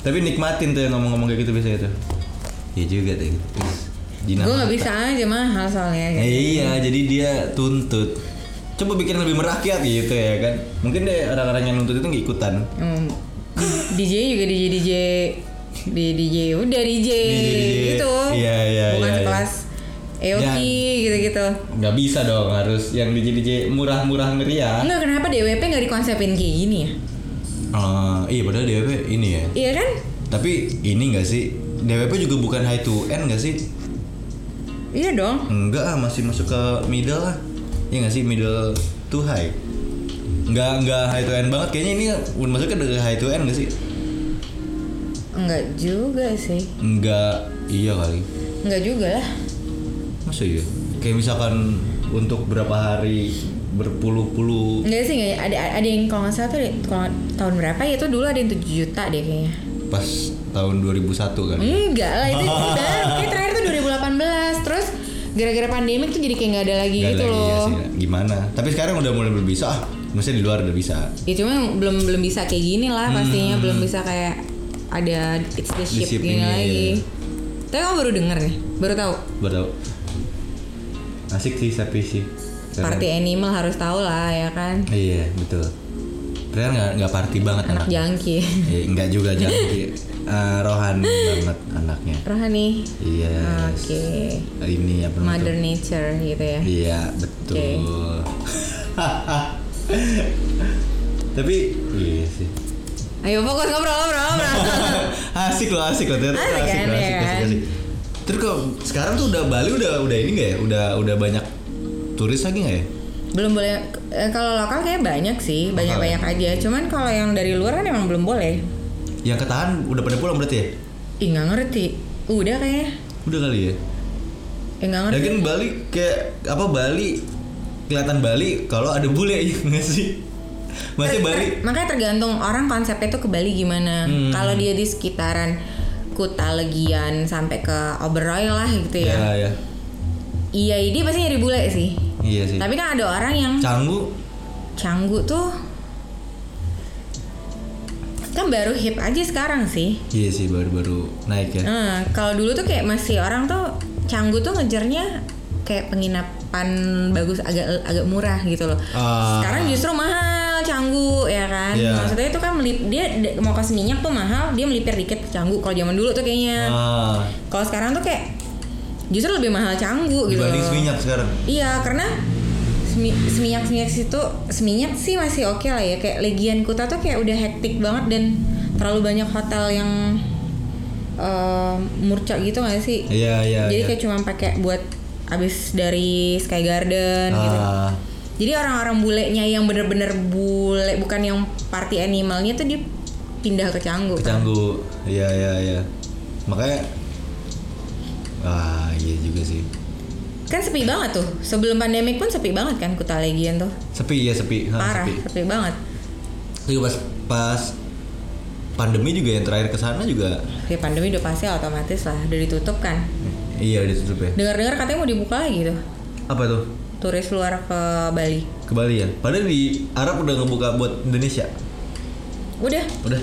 B: Tapi nikmatin tuh yang ngomong-ngomong kayak gitu biasanya tuh. Iya juga tuh. gitu. Zina
A: Gue nggak
B: mata.
A: bisa aja mahal soalnya.
B: Eh, iya, jadi dia tuntut. Coba bikin lebih merakyat gitu ya kan. Mungkin deh orang-orang yang nuntut itu nggak ikutan.
A: Hmm, DJ juga DJ DJ DJ DJ udah DJ, gitu.
B: Iya, iya,
A: Bukan
B: iya, iya.
A: sekelas Eoki gitu-gitu.
B: Nggak bisa dong, harus yang DJ DJ murah-murah ya. meriah.
A: Enggak kenapa DWP nggak dikonsepin kayak gini ya?
B: Eh, iya padahal DWP ini ya.
A: Iya kan?
B: Tapi ini nggak sih? DWP juga bukan high to end nggak sih?
A: Iya dong.
B: Enggak ah, masih masuk ke middle lah. Iya nggak sih middle to high. Nggak nggak high to end banget kayaknya ini masuk ke high to end nggak sih?
A: Enggak juga sih.
B: Enggak, iya kali.
A: Enggak juga lah.
B: Masa iya? Kayak misalkan untuk berapa hari berpuluh-puluh
A: Enggak sih enggak ada ada yang kalau nggak salah tuh di- kalau tahun berapa ya itu dulu ada yang 7 juta deh kayaknya.
B: pas tahun 2001 kan.
A: Enggak lah itu itu terakhir kayak terakhir tuh 2018. Terus gara-gara pandemi tuh jadi kayak nggak ada lagi
B: Nggak
A: gitu
B: lagi,
A: loh.
B: iya sih, gimana? Tapi sekarang udah mulai berbisa. Ah, maksudnya di luar udah bisa.
A: ya cuma belum belum bisa kayak gini lah
B: Hmm.
A: pastinya belum bisa kayak ada it's the ship
B: ship
A: gini
B: ini,
A: lagi
B: iya.
A: tapi kamu baru denger nih baru tahu
B: Baru asik sih tapi sih. Keren.
A: party ya? animal harus tahu lah ya kan
B: Iya betul. Ternyata nggak nggak party banget
A: anak
B: anaknya.
A: jangki
B: Eh, nggak juga jangki. Eh, rohani banget anaknya.
A: rohani
B: Iya.
A: Ah, oke
B: Ini apa namanya
A: mother
B: tuh?
A: nature gitu ya
B: Iya betul. Tapi iya sih.
A: ayo fokus ngobrol ngobrol ngobrol
B: asik loh asik loh ternyata
A: Asik kan,
B: loh,
A: ya kan?
B: Terus kok sekarang tuh udah Bali udah udah ini nggak ya? Udah udah banyak turis lagi nggak ya?
A: belum boleh eh, kalau lokal kayak banyak sih
B: Lokal
A: banyak
B: ya?
A: banyak aja cuman kalau yang dari luar kan emang belum boleh
B: Yang ketahan udah pada pulang berarti ya?
A: ih nggak ngerti udah kayaknya
B: Udah kali ya.
A: eh nggak ngerti
B: Lagian Bali kayak apa Bali kelihatan Bali kalau ada bule ya nggak sih? Masih
A: Ter-
B: Bali
A: ter- makanya tergantung orang konsepnya tuh ke Bali gimana.
B: Hmm.
A: Kalau dia di sekitaran Kuta Legian sampai ke Oberoi lah gitu
B: ya
A: ya.
B: ya.
A: Iya, ini pasti nyari bule sih.
B: Iya sih.
A: Tapi kan ada orang yang
B: Canggu
A: canggu tuh kan baru hip aja sekarang sih.
B: iya sih baru-baru naik ya.
A: Nah, kalau dulu tuh kayak masih orang tuh canggu tuh ngejarnya kayak penginapan bagus agak agak murah gitu loh.
B: Ah.
A: Sekarang justru mahal canggu ya kan.
B: Iya.
A: Maksudnya itu kan melip dia d- mau kasih minyak tuh mahal, dia melipir dikit ke canggu. Kalau zaman dulu tuh kayaknya.
B: Ah,
A: Kalau sekarang tuh kayak justru lebih mahal canggu gitu.
B: dibanding
A: loh.
B: seminyak sekarang.
A: Iya, karena semi- seminyak-seminyak situ seminyak sih masih oke lah ya. Kayak Legian Kuta tuh kayak udah hektik banget dan terlalu banyak hotel yang eh, murca gitu gak sih?
B: Iya iya.
A: Jadi
B: iya.
A: kayak cuma pakai buat abis dari Sky Garden gitu.
B: Ah,
A: Jadi orang-orang bulenya yang bener-bener bule bukan yang party animalnya tuh dia pindah ke Canggu.
B: Canggu. Iya iya iya. Makanya ah iya juga sih.
A: Kan sepi banget tuh. Sebelum pandemik pun sepi banget kan Kuta Legian tuh.
B: Sepi ya sepi. Ha,
A: Parah,
B: Sepi.
A: sepi banget.
B: Tapi pas pas pandemi juga yang terakhir ke sana juga
A: Ya pandemi udah pasti otomatis lah, udah ditutup kan.
B: iya udah tutup ya.
A: Dengar-dengar katanya mau dibuka lagi tuh,
B: Apa tuh?
A: turis luar ke Bali.
B: ke Bali ya. Padahal di Arab udah ngebuka buat Indonesia.
A: Udah,
B: Udah.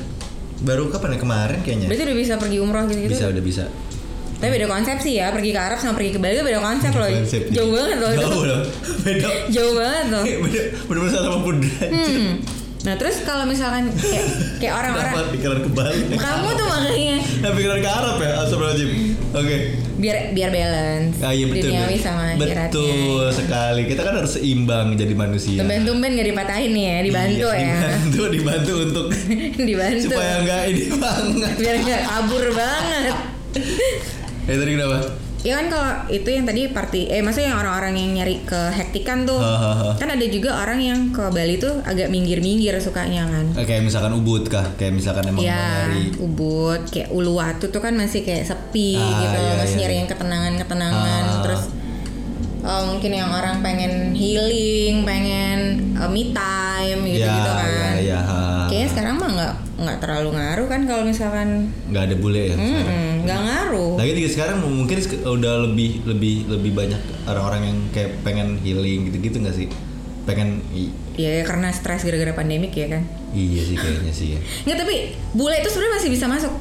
B: Baru kapan ya kemarin kayaknya.
A: berarti udah gitu. bisa pergi umroh gitu-gitu.
B: Bisa udah bisa.
A: Tapi beda konsep sih ya, pergi ke Arab sama pergi ke Bali itu beda konsep loh.
B: Konsep.
A: Jauh banget loh itu.
B: Jauh loh. Beda.
A: Jauh banget loh.
B: Kayak Beda benar-benar 180 derajat.
A: Hmm. Nah terus kalau misalkan kayak, kayak
B: Kenapa
A: orang-orang
B: pikiran ke Bali?
A: kamu tuh makanya
B: Nah, pikiran ke Arab ya, Astagfirullahaladzim. Oke.
A: biar biar balance
B: Ah iya betul.
A: duniawi
B: betul.
A: sama akhiratnya.
B: Betul sekali. Kita kan harus seimbang jadi manusia.
A: Tumben-tumben gak dipatahin nih ya, dibantu
B: Iya,
A: ya.
B: Dibantu, dibantu untuk
A: dibantu.
B: supaya nggak ini banget.
A: Biar gak kabur banget.
B: Eh tadi kenapa?
A: Ya kan kalau itu yang tadi party eh maksudnya yang orang-orang yang nyari ke hektikan tuh.
B: Hahaha.
A: kan ada juga orang yang ke Bali tuh agak minggir-minggir sukanya kan.
B: Eh, Kayak misalkan ubud kah? Kayak misalkan emang mau
A: Ya,
B: nyari
A: Ubud, kayak Uluwatu tuh kan masih kayak sepi
B: Ah,
A: gitu,
B: iya,
A: masih
B: iya.
A: nyari yang ketenangan-ketenangan.
B: Ah.
A: Terus eh, mungkin yang orang pengen healing, pengen eh, me time gitu-gitu
B: ya,
A: kan.
B: Ya, ya, ha.
A: Kayaknya sekarang mah nggak nggak terlalu ngaruh kan kalau misalkan
B: nggak ada bule ya.
A: mm, mm, nggak ngaruh.
B: Lagi juga sekarang mungkin sek- udah lebih lebih lebih banyak orang-orang yang kayak pengen healing gitu-gitu nggak sih? Pengen i-
A: Ya karena stres gara-gara pandemik ya kan.
B: iya sih kayaknya sih ya.
A: Nggak tapi bule itu sebenarnya masih bisa masuk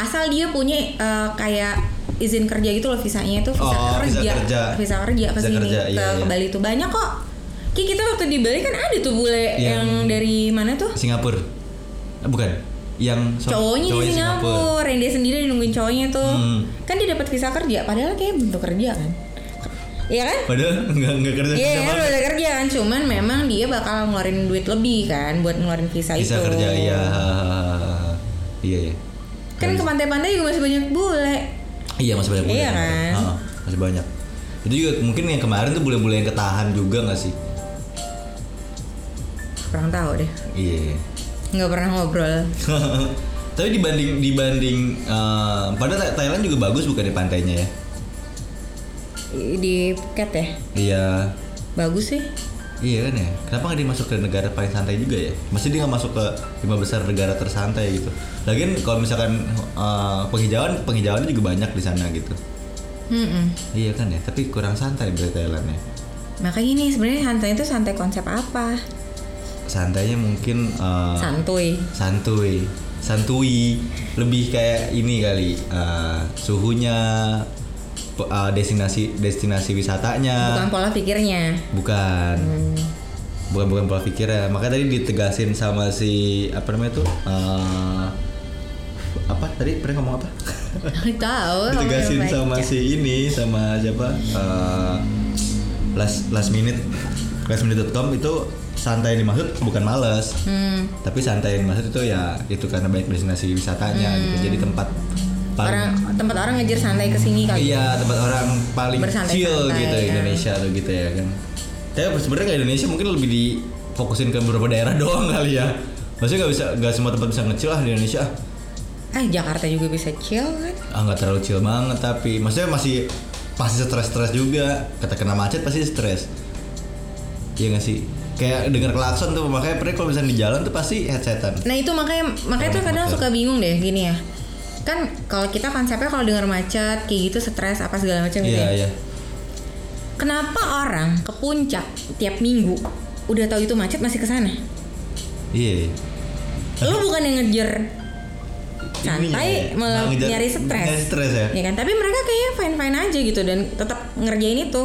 A: asal dia punya eh, kayak izin kerja gitu loh visanya itu visa
B: Oh,
A: kerja
B: visa kerja.
A: visa kerja ke
B: Visa
A: sini
B: kerja,
A: ke,
B: iya,
A: ke
B: iya.
A: Bali itu banyak kok kayak kita waktu di Bali kan ada tuh bule
B: Yang-
A: yang, dari mana tuh
B: Singapura. Ah, Bukan. Yang so-
A: cowoknya di Singapura, yang dia sendiri nungguin cowoknya tuh
B: Hmm.
A: kan dia dapat visa kerja padahal kayak bentuk kerja kan Iya kan
B: Padahal nggak nggak kerja
A: Iya
B: kerja
A: kan
B: banget.
A: udah kerja kan cuman memang dia bakal ngeluarin duit lebih kan buat ngeluarin visa,
B: Bisa
A: itu
B: kerja ya. Iya ya.
A: kan ke pantai-pantai juga masih banyak bule
B: Iya masih banyak bule.
A: Iya
B: yang kemarin.
A: kan?
B: Ha, masih banyak. Itu juga mungkin yang kemarin tuh bule-bule yang ketahan juga nggak sih?
A: kurang tahu deh
B: Iya.
A: nggak pernah ngobrol
B: Tapi dibanding dibanding eh, padahal Tha- Thailand juga bagus bukan di pantainya ya.
A: di Phuket ya
B: Iya.
A: bagus sih
B: Iya kan ya. Kenapa nggak dimasuk ke negara paling santai juga ya? Maksudnya dia nggak masuk ke lima besar negara tersantai gitu. Lagian kalau misalkan eh, penghijauan penghijauannya juga banyak di sana gitu.
A: Mm-mm.
B: Iya kan ya. Tapi kurang santai berarti Thailand ya.
A: makanya ini sebenarnya santai itu santai konsep apa
B: Santainya mungkin eh,
A: santuy
B: santuy santui lebih kayak ini kali eh, suhunya pe- eh, destinasi destinasi
A: bukan
B: wisatanya
A: pola pikirnya
B: bukan bukan bukan pola pikir ya makanya tadi ditegasin sama si apa namanya tuh eh, apa tadi pernah ngomong apa
A: tahu
B: ditegasin
A: orang
B: sama
A: baca.
B: si ini sama siapa eh, last last minute last minute.com itu santai yang dimaksud bukan males
A: Hmm.
B: tapi santai yang maksud itu ya itu karena banyak destinasi wisatanya gitu jadi tempat
A: orang
B: paling
A: tempat orang ngejar santai ke sini kali
B: iya tempat orang paling
A: Bersantai-santai,
B: chill gitu
A: ya.
B: Indonesia tuh gitu ya kan tapi sebenarnya nggak Indonesia mungkin lebih difokusin ke beberapa daerah doang kali ya maksudnya nggak bisa nggak semua tempat bisa ngecil lah di Indonesia
A: ah Jakarta juga bisa chill kan
B: ah nggak terlalu chill banget tapi maksudnya masih pasti stres-stres juga kata kena macet pasti stres Iya nggak sih kayak dengar klakson tuh makanya pernah kalau misalnya di jalan tuh pasti headsetan
A: Nah itu makanya makanya tuh kadang suka bingung deh gini ya. Kan kalau kita konsepnya kalau dengar macet kayak gitu stres apa segala macam gitu.
B: iya
A: ya.
B: iya
A: Kenapa orang ke puncak tiap minggu udah tahu itu macet masih ke sana?
B: iya
A: Lu bukan yang ngejar santai
B: Ininya,
A: malah
B: nah, ngejar-
A: nyari stres.
B: nyari stres ya?
A: kan? Tapi mereka kayaknya fine-fine aja gitu dan tetap ngerjain itu.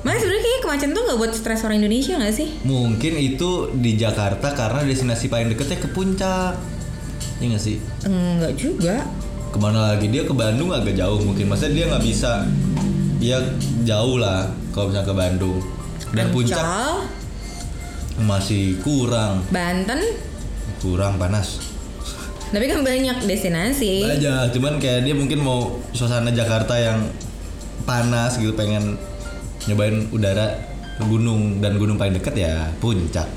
A: Makanya sebenarnya kayaknya kemacetan tuh nggak buat stres orang Indonesia nggak sih?
B: Mungkin itu di Jakarta karena destinasi paling deketnya ke puncak. Iya nggak sih?
A: Enggak juga.
B: Kemana lagi dia ke Bandung agak jauh mungkin. Maksudnya dia nggak bisa. Dia jauh lah kalau misalnya ke Bandung. Dan puncak
A: Cal,
B: masih kurang,
A: Banten,
B: kurang panas.
A: tapi kan banyak destinasi.
B: Aja, cuman kayak dia mungkin mau suasana Jakarta yang panas gitu pengen nyobain udara gunung dan gunung paling deket ya puncak.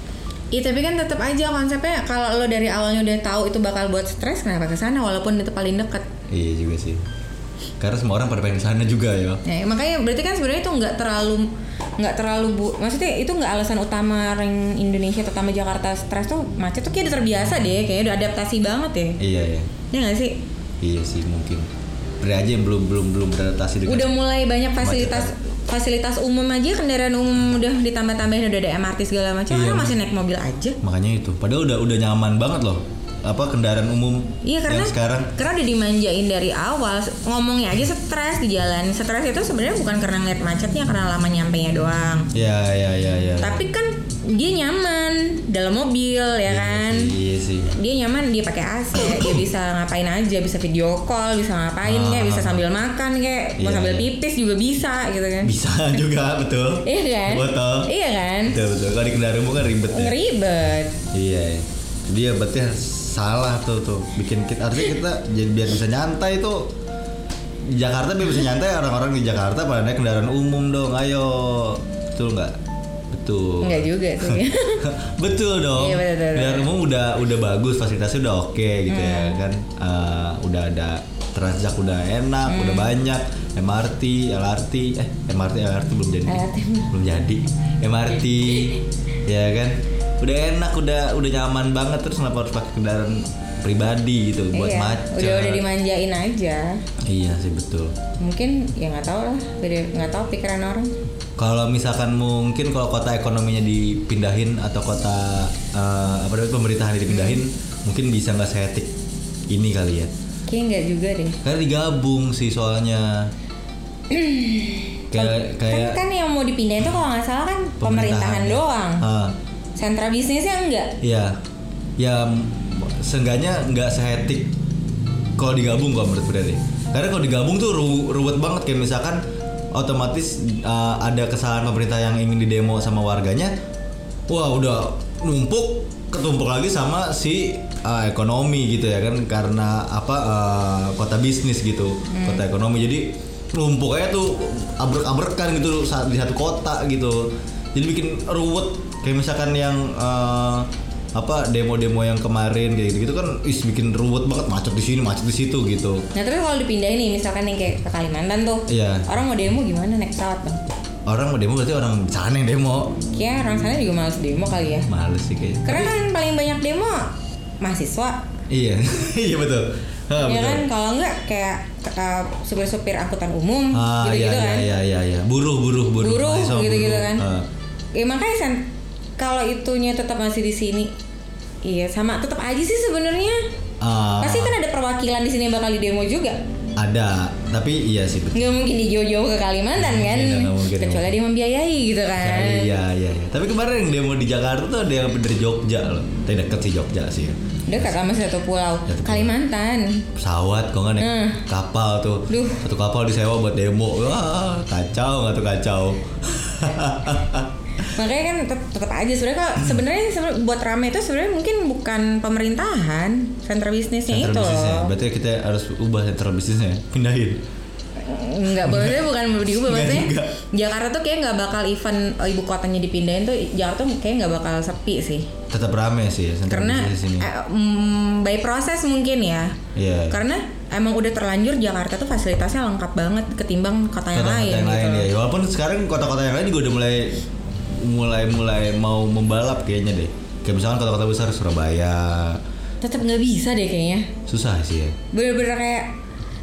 A: Iya tapi kan tetap aja konsepnya kalau lo dari awalnya udah tahu itu bakal buat stres kenapa ke sana walaupun itu paling deket.
B: Iya juga sih. Karena semua orang pada pengen sana juga ya.
A: Ya, makanya berarti kan sebenarnya itu nggak terlalu nggak terlalu bu, maksudnya itu nggak alasan utama orang Indonesia terutama Jakarta stres tuh macet tuh kayak udah terbiasa deh, kayaknya udah adaptasi banget ya.
B: Iya ya.
A: Ya nggak sih?
B: Iya sih mungkin. Beri aja yang belum belum belum beradaptasi dengan.
A: Udah mulai banyak fasilitas
B: ya.
A: fasilitas umum aja kendaraan umum udah ditambah-tambahin udah ada MRT segala macam,
B: Iya.
A: orang masih naik mobil aja.
B: Makanya itu. Padahal udah udah nyaman banget loh. Apa kendaraan umum
A: Iya karena
B: yang sekarang?
A: karena udah dimanjain dari awal ngomongnya aja stres di jalan stres itu sebenarnya bukan karena ngeliat macetnya karena lama nyampe doang
B: Ya ya ya ya.
A: tapi kan dia nyaman dalam mobil ya kan
B: Iya sih.
A: dia nyaman dia pakai AC dia bisa ngapain aja bisa video call bisa ngapain kayak bisa sambil makan kayak mau
B: Ah. Iya,
A: sambil
B: iya.
A: pipis juga bisa gitu kan
B: Bisa juga betul.
A: iya kan
B: Betul.
A: iya kan
B: Betul betul. Kalau di kendaraan umum kan ribet. ya.
A: ngeribet
B: Iya. ya. Dia berarti salah tuh tuh. Bikin kita artinya kita jadi biar bisa nyantai tuh. Di Jakarta biar bisa nyantai orang-orang di Jakarta pada naik kendaraan umum dong. Ayo. Betul nggak? Betul.
A: nggak juga sih
B: betul dong.
A: Iya, betul, betul, betul.
B: Kendaraan umum udah udah bagus, fasilitasnya udah oke gitu ya
A: Hmm.
B: kan. Eh, udah ada Transjak udah enak,
A: Hmm.
B: udah banyak. MRT, LRT, eh MRT LRT belum jadi.
A: LRT.
B: Belum jadi. MRT ya kan. Udah enak, udah udah nyaman banget terus kenapa harus pakai kendaraan pribadi gitu buat
A: Iya,
B: macet.
A: udah udah dimanjain aja
B: Iya sih betul.
A: mungkin ya nggak tahu lah beda nggak tahu pikiran orang
B: Kalau misalkan mungkin kalau kota ekonominya dipindahin atau kota eh, apa namanya pemerintahan dipindahin,
A: Hmm.
B: mungkin bisa nggak sehetik ini kali ya.
A: kayak nggak juga deh
B: Karena digabung sih soalnya. kayak kayak
A: kan kan yang mau dipindahin tuh kalau nggak salah kan pemerintahan, doang
B: Ah,
A: sentra bisnisnya enggak
B: Iya. Ya m- seenggaknya nggak sehetik kalau digabung kalau menurut gue deh. Karena kalau digabung tuh ru- ruwet banget kayak misalkan otomatis uh, ada kesalahan pemerintah yang ingin didemo sama warganya. Wah, udah numpuk ketumpuk lagi sama si uh, ekonomi gitu ya kan karena apa uh, kota bisnis gitu,
A: Hmm.
B: kota ekonomi. Jadi numpuk aja tuh abrek-abrekan gitu sa- di satu kota gitu. Jadi bikin ruwet kayak misalkan yang uh, apa demo-demo yang kemarin kayak gitu, gitu kan is bikin ruwet banget macet di sini macet di situ gitu
A: Nah terus kalau dipindahin nih misalkan yang kayak ke Kalimantan tuh
B: Iya.
A: Orang mau demo gimana naik pesawat bang?
B: orang mau demo berarti orang sana yang demo
A: Kayaknya Ya, orang sana juga males demo kali ya
B: males sih kayaknya
A: Karena kan paling banyak demo mahasiswa
B: iya iya betul ha,
A: Ya
B: betul
A: kan kalau enggak kayak eh, supir-supir angkutan umum
B: ah iya
A: gitu-gitu kan
B: iya iya iya buruh buruh buruh
A: buruh
B: Mahasiswa Ah.
A: gitu-gitu
B: buruh.
A: kan
B: Ha.
A: ya makanya San, kalau itunya tetap masih di sini iya sama tetap aja sih sebenarnya
B: Ah,
A: pasti kan ada perwakilan di sini yang bakal di demo juga
B: ada tapi iya sih betul
A: nggak mungkin di jauh-jauh ke Kalimantan kan
B: Iya, nggak mungkin.
A: kecuali dia membiayai gitu kan
B: Ya, iya iya iya tapi kemarin yang demo di Jakarta tuh ada yang dari Jogja loh tapi deket sih Jogja sih ya.
A: dekat sama satu pulau
B: Satu pulau.
A: Kalimantan
B: pesawat kok nggak naik
A: Hmm.
B: kapal tuh
A: Duh.
B: satu kapal disewa buat demo wah kacau nggak tuh kacau
A: makanya kan tet- tetap aja sebenarnya kalau sebenarnya sebenarnya buat rame itu sebenarnya mungkin bukan pemerintahan center bisnisnya
B: Center
A: itu
B: bisnisnya
A: loh
B: berarti kita harus ubah center bisnisnya ya? pindahin
A: nggak maksudnya bukan mau diubah
B: Nggak
A: maksudnya
B: juga.
A: Jakarta tuh kayak nggak bakal event eh, ibu kotanya dipindahin tuh Jakarta tuh kayak nggak bakal sepi sih
B: tetap rame sih ya, center
A: karena
B: bisnis ini
A: eh, mm, by proses mungkin ya
B: Iya.
A: karena emang udah terlanjur Jakarta tuh fasilitasnya lengkap banget ketimbang kota yang
B: Kota-kota
A: lain gitu
B: ya. walaupun sekarang kota-kota yang lain juga udah mulai mulai mulai mau membalap kayaknya deh kayak misalkan kota-kota besar Surabaya
A: tetap nggak bisa deh kayaknya
B: susah sih ya
A: bener-bener kayak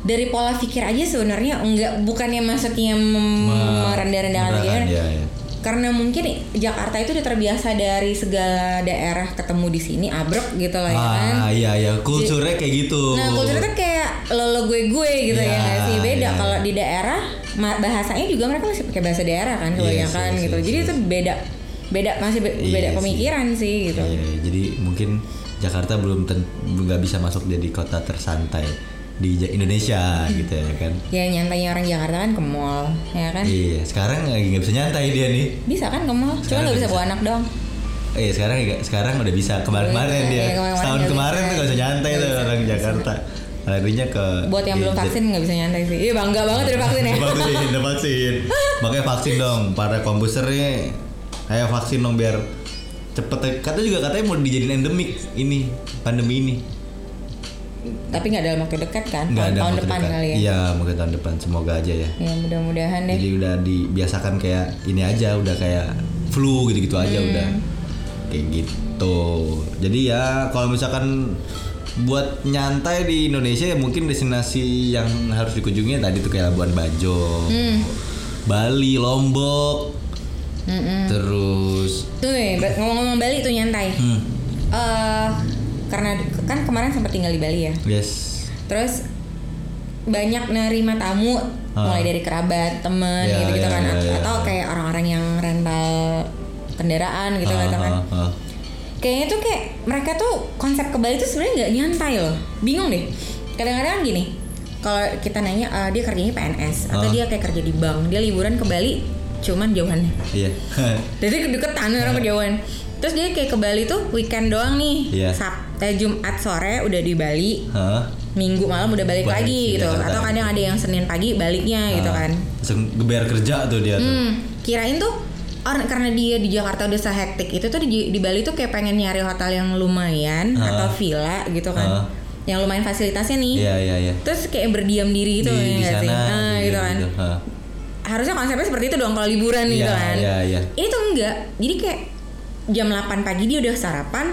A: dari pola pikir aja sebenarnya nggak bukannya maksudnya mem-
B: Me-
A: merendah-rendahkan lagi
B: merendahkan,
A: ya.
B: ya, ya.
A: karena mungkin Jakarta itu udah terbiasa dari segala daerah ketemu di sini abrek gitu lah ya kan
B: Ah iya iya kulturnya kayak gitu.
A: Nah kulturnya tuh kayak lo gue gue gitu
B: Iya,
A: ya nggak sih beda
B: iya.
A: kalau di daerah ma- bahasanya juga mereka masih pakai bahasa daerah kan
B: Iya,
A: kebanyakan
B: sih,
A: gitu
B: sih,
A: jadi
B: sih.
A: itu beda beda masih be-
B: Iya,
A: beda
B: sih.
A: pemikiran sih gitu
B: Iya, iya. jadi mungkin Jakarta belum ten- nggak bisa masuk jadi kota tersantai di Ja- Indonesia gitu ya kan.
A: ya nyantainya orang Jakarta kan ke mall ya kan
B: Iya sekarang lagi nggak bisa nyantai dia nih.
A: bisa kan ke mall cuma
B: Sekarang
A: nggak bisa
B: Iya, bisa.
A: bawa anak doang
B: Eh sekarang nggak- sekarang udah bisa kemarin-kemarin
A: Iya,
B: dia
A: kemarin-kemarin
B: tahun
A: nggak
B: kemarin
A: bisa. Iya,
B: tuh nggak bisa nyantai
A: Nggak
B: tuh
A: bisa,
B: orang
A: nggak bisa.
B: Jakarta. Larinya ke
A: iya. buat yang belum
B: gadget.
A: vaksin nggak bisa nyantai sih iya bangga banget udah vaksin ya
B: Udah vaksin, udah vaksin. Makanya vaksin dong para kompuser nih. Ayo vaksin dong biar cepet. Kata juga katanya mau dijadiin endemik ini pandemi ini.
A: tapi nggak dalam waktu dekat kan
B: Nggak
A: tahun,
B: ada
A: tahun
B: waktu
A: depan
B: dekat.
A: kali ya
B: Iya mungkin tahun depan semoga aja ya.
A: ya mudah-mudahan deh
B: Jadi udah dibiasakan kayak ini aja udah kayak flu gitu-gitu aja
A: Hmm.
B: udah kayak gitu. Jadi ya kalau misalkan buat nyantai di Indonesia ya mungkin destinasi yang harus dikunjungi tadi tuh kayak Labuan Bajo,
A: Hmm.
B: Bali, Lombok,
A: Mm-mm.
B: terus
A: tuh nih ba- ngomong-ngomong Bali tuh nyantai
B: Hmm.
A: Eh, karena kan kemarin sempat tinggal di Bali ya
B: yes
A: terus banyak nerima tamu
B: Ah.
A: mulai dari kerabat temen
B: Ya,
A: gitu gitu
B: ya,
A: kan
B: ya, ya.
A: atau kayak orang-orang yang rental kendaraan gitu
B: Ah,
A: gitu kan
B: ah, ah.
A: kayaknya tuh kayak mereka tuh konsep ke Bali tuh sebenarnya nggak nyantai loh bingung deh kadang-kadang gini kalau kita nanya "Eh, dia kerjanya PNS atau
B: Ah.
A: dia kayak kerja di bank dia liburan ke Bali cuman jauhannya
B: Iya.
A: jadi deketan
B: Ah.
A: orang kejauhan terus dia kayak ke Bali tuh weekend doang nih
B: Iya.
A: Sab- eh, Jumat sore udah di Bali
B: Hah?
A: Minggu malam udah balik
B: Balik
A: lagi
B: ke
A: gitu
B: Jakarta.
A: atau kadang ada yang Senin pagi baliknya gitu
B: Ah.
A: kan
B: Langsung geber kerja tuh dia tuh.
A: Hmm, kirain tuh orang karena dia di Jakarta udah sehektik itu tuh di, di Bali tuh kayak pengen nyari hotel yang lumayan
B: Ah.
A: atau villa gitu kan.
B: Ah.
A: Yang lumayan fasilitasnya nih.
B: Iya iya iya.
A: Terus kayak berdiam diri Hmm. gitu ya
B: di, di
A: nggak
B: sana
A: sih? Ah,
B: di-
A: gitu kan.
B: gitu. Ah.
A: Harusnya konsepnya seperti itu dong kalau liburan gitu
B: Iya,
A: kan.
B: iya, iya.
A: Ini tuh enggak. Jadi kayak jam 8 pagi dia udah sarapan.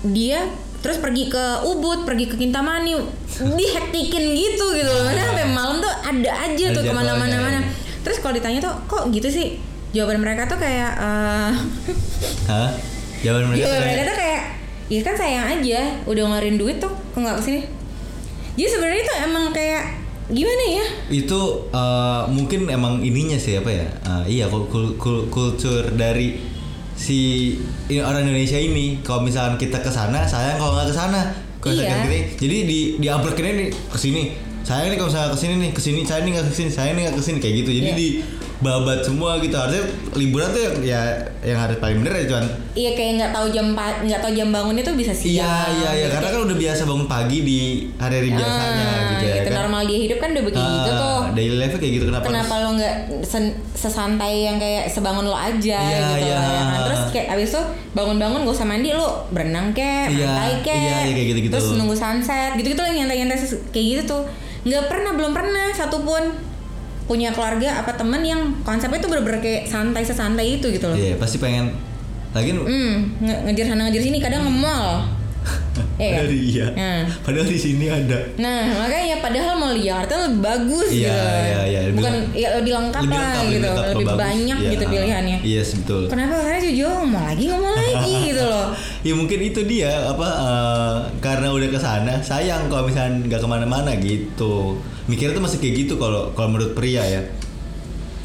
A: Dia terus pergi ke Ubud, pergi ke Kintamani, dihektikin gitu gitu loh. Karena sampai malam tuh ada aja
B: Iya. Ada
A: tuh
B: jadwalnya,
A: kemana-mana
B: iya.
A: mana. Terus kalau ditanya tuh kok gitu sih? Jawaban mereka tuh kayak eh,
B: Hah? Jawaban mereka
A: jawaban Iya,
B: tuh
A: mereka
B: kayak-
A: tuh kayak ya kan sayang aja udah ngeluarin duit tuh kok nggak kesini. Jadi sebenarnya tuh emang kayak gimana ya?
B: itu eh, mungkin emang ininya sih apa ya Eh, iya kul- kul- kul- kultur dari si i- orang Indonesia ini kalau misalkan kita ke sana sayang kalau nggak ke sana Kalau
A: Iya.
B: misalkan gini, jadi di diamprekinnya nih ke sini sayang nih kalau misalkan ke sini nih ke sini sayang nih nggak ke sini sayang nih nggak ke sini kayak gitu jadi
A: Iya.
B: di babat semua gitu harusnya liburan tuh yang ya yang harus paling bener ya cuman
A: Iya kayak nggak tahu jam pa- nggak tahu jam bangunnya tuh bisa siang.
B: iya iya iya
A: Jadi
B: karena
A: kayak-
B: kan udah biasa bangun pagi di hari hari biasanya
A: gitu. Ah,
B: gitu ya kan
A: normal dia hidup kan udah begitu
B: Ah,
A: tuh.
B: daily life kayak gitu kenapa,
A: Kenapa
B: harus-
A: lo nggak sen- sesantai yang kayak sebangun lo aja
B: Iya,
A: gitu
B: iya.
A: loh, ya kan? Terus kayak abis itu bangun-bangun gak usah mandi lo berenang kek,
B: Iya,
A: pantai kek,
B: iya, iya, kayak gitu-gitu.
A: terus nunggu sunset gitu-gitu lah nyantai-nyantai ses- kayak gitu tuh. Nggak pernah belum pernah satupun punya keluarga apa temen yang konsepnya tuh bener-bener kayak santai sesantai itu gitu loh.
B: Iya pasti pengen lagi
A: Hmm, nge- ngejar sana ngejar sini kadang nge mall. Iya kan?
B: padahal di- iya
A: Nah.
B: padahal di sini ada
A: Nah, makanya padahal mall di Jakarta lebih bagus
B: Iya,
A: gitu.
B: iya, iya. Lebih
A: Bukan
B: lengkap.
A: ya lebih lengkap lah gitu,
B: lengkap,
A: lebih
B: bagus.
A: banyak
B: Iya.
A: gitu pilihannya.
B: Iya yes, betul.
A: Kenapa karena Jojo mau lagi nggak mau lagi gitu loh.
B: Ya mungkin itu dia apa eh, karena udah ke sana sayang kalau misalnya nggak kemana-mana gitu. Mikirnya tuh masih kayak gitu kalau kalau menurut pria ya.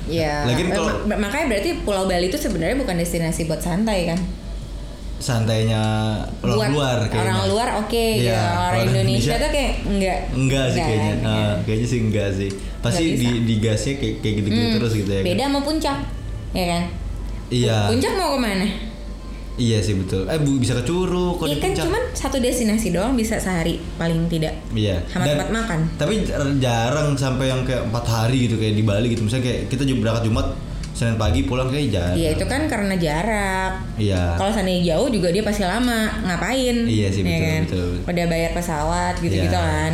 A: Ya.
B: Lagian
A: eh,
B: kalau-
A: ma- makanya berarti Pulau Bali itu sebenarnya bukan destinasi buat santai kan.
B: Santainya orang
A: buat
B: luar kayaknya.
A: Orang luar oke
B: Iya,
A: gitu. Orang
B: orang
A: Indonesia,
B: Indonesia-
A: tuh kayak enggak.
B: Enggak sih kayaknya.
A: kan,
B: Eh,
A: iya.
B: kayaknya sih enggak sih. Pasti
A: Nggak
B: di
A: bisa.
B: digasnya kayak kayak gitu-gitu
A: Hmm,
B: terus gitu ya. kan?
A: Beda sama puncak. Ya kan?
B: Iya.
A: Puncak mau kemana?
B: Iya sih betul. Eh bu, bisa ke Curug, kok di
A: Iya kan
B: puncak.
A: cuman satu destinasi doang bisa sehari paling tidak.
B: Iya.
A: Sama
B: Dan-
A: tempat makan.
B: Tapi jar- jarang sampai yang kayak empat hari gitu kayak di Bali gitu. Misalnya kayak kita juga berangkat Jumat, Senin pagi pulang kayak jarang.
A: Iya itu kan karena jarak.
B: Iya.
A: Kalau seandainya jauh juga dia pasti lama. Ngapain?
B: Iya sih,
A: ya
B: betul,
A: kan?
B: betul, betul.
A: Udah bayar pesawat gitu-gitu
B: Iya.
A: kan.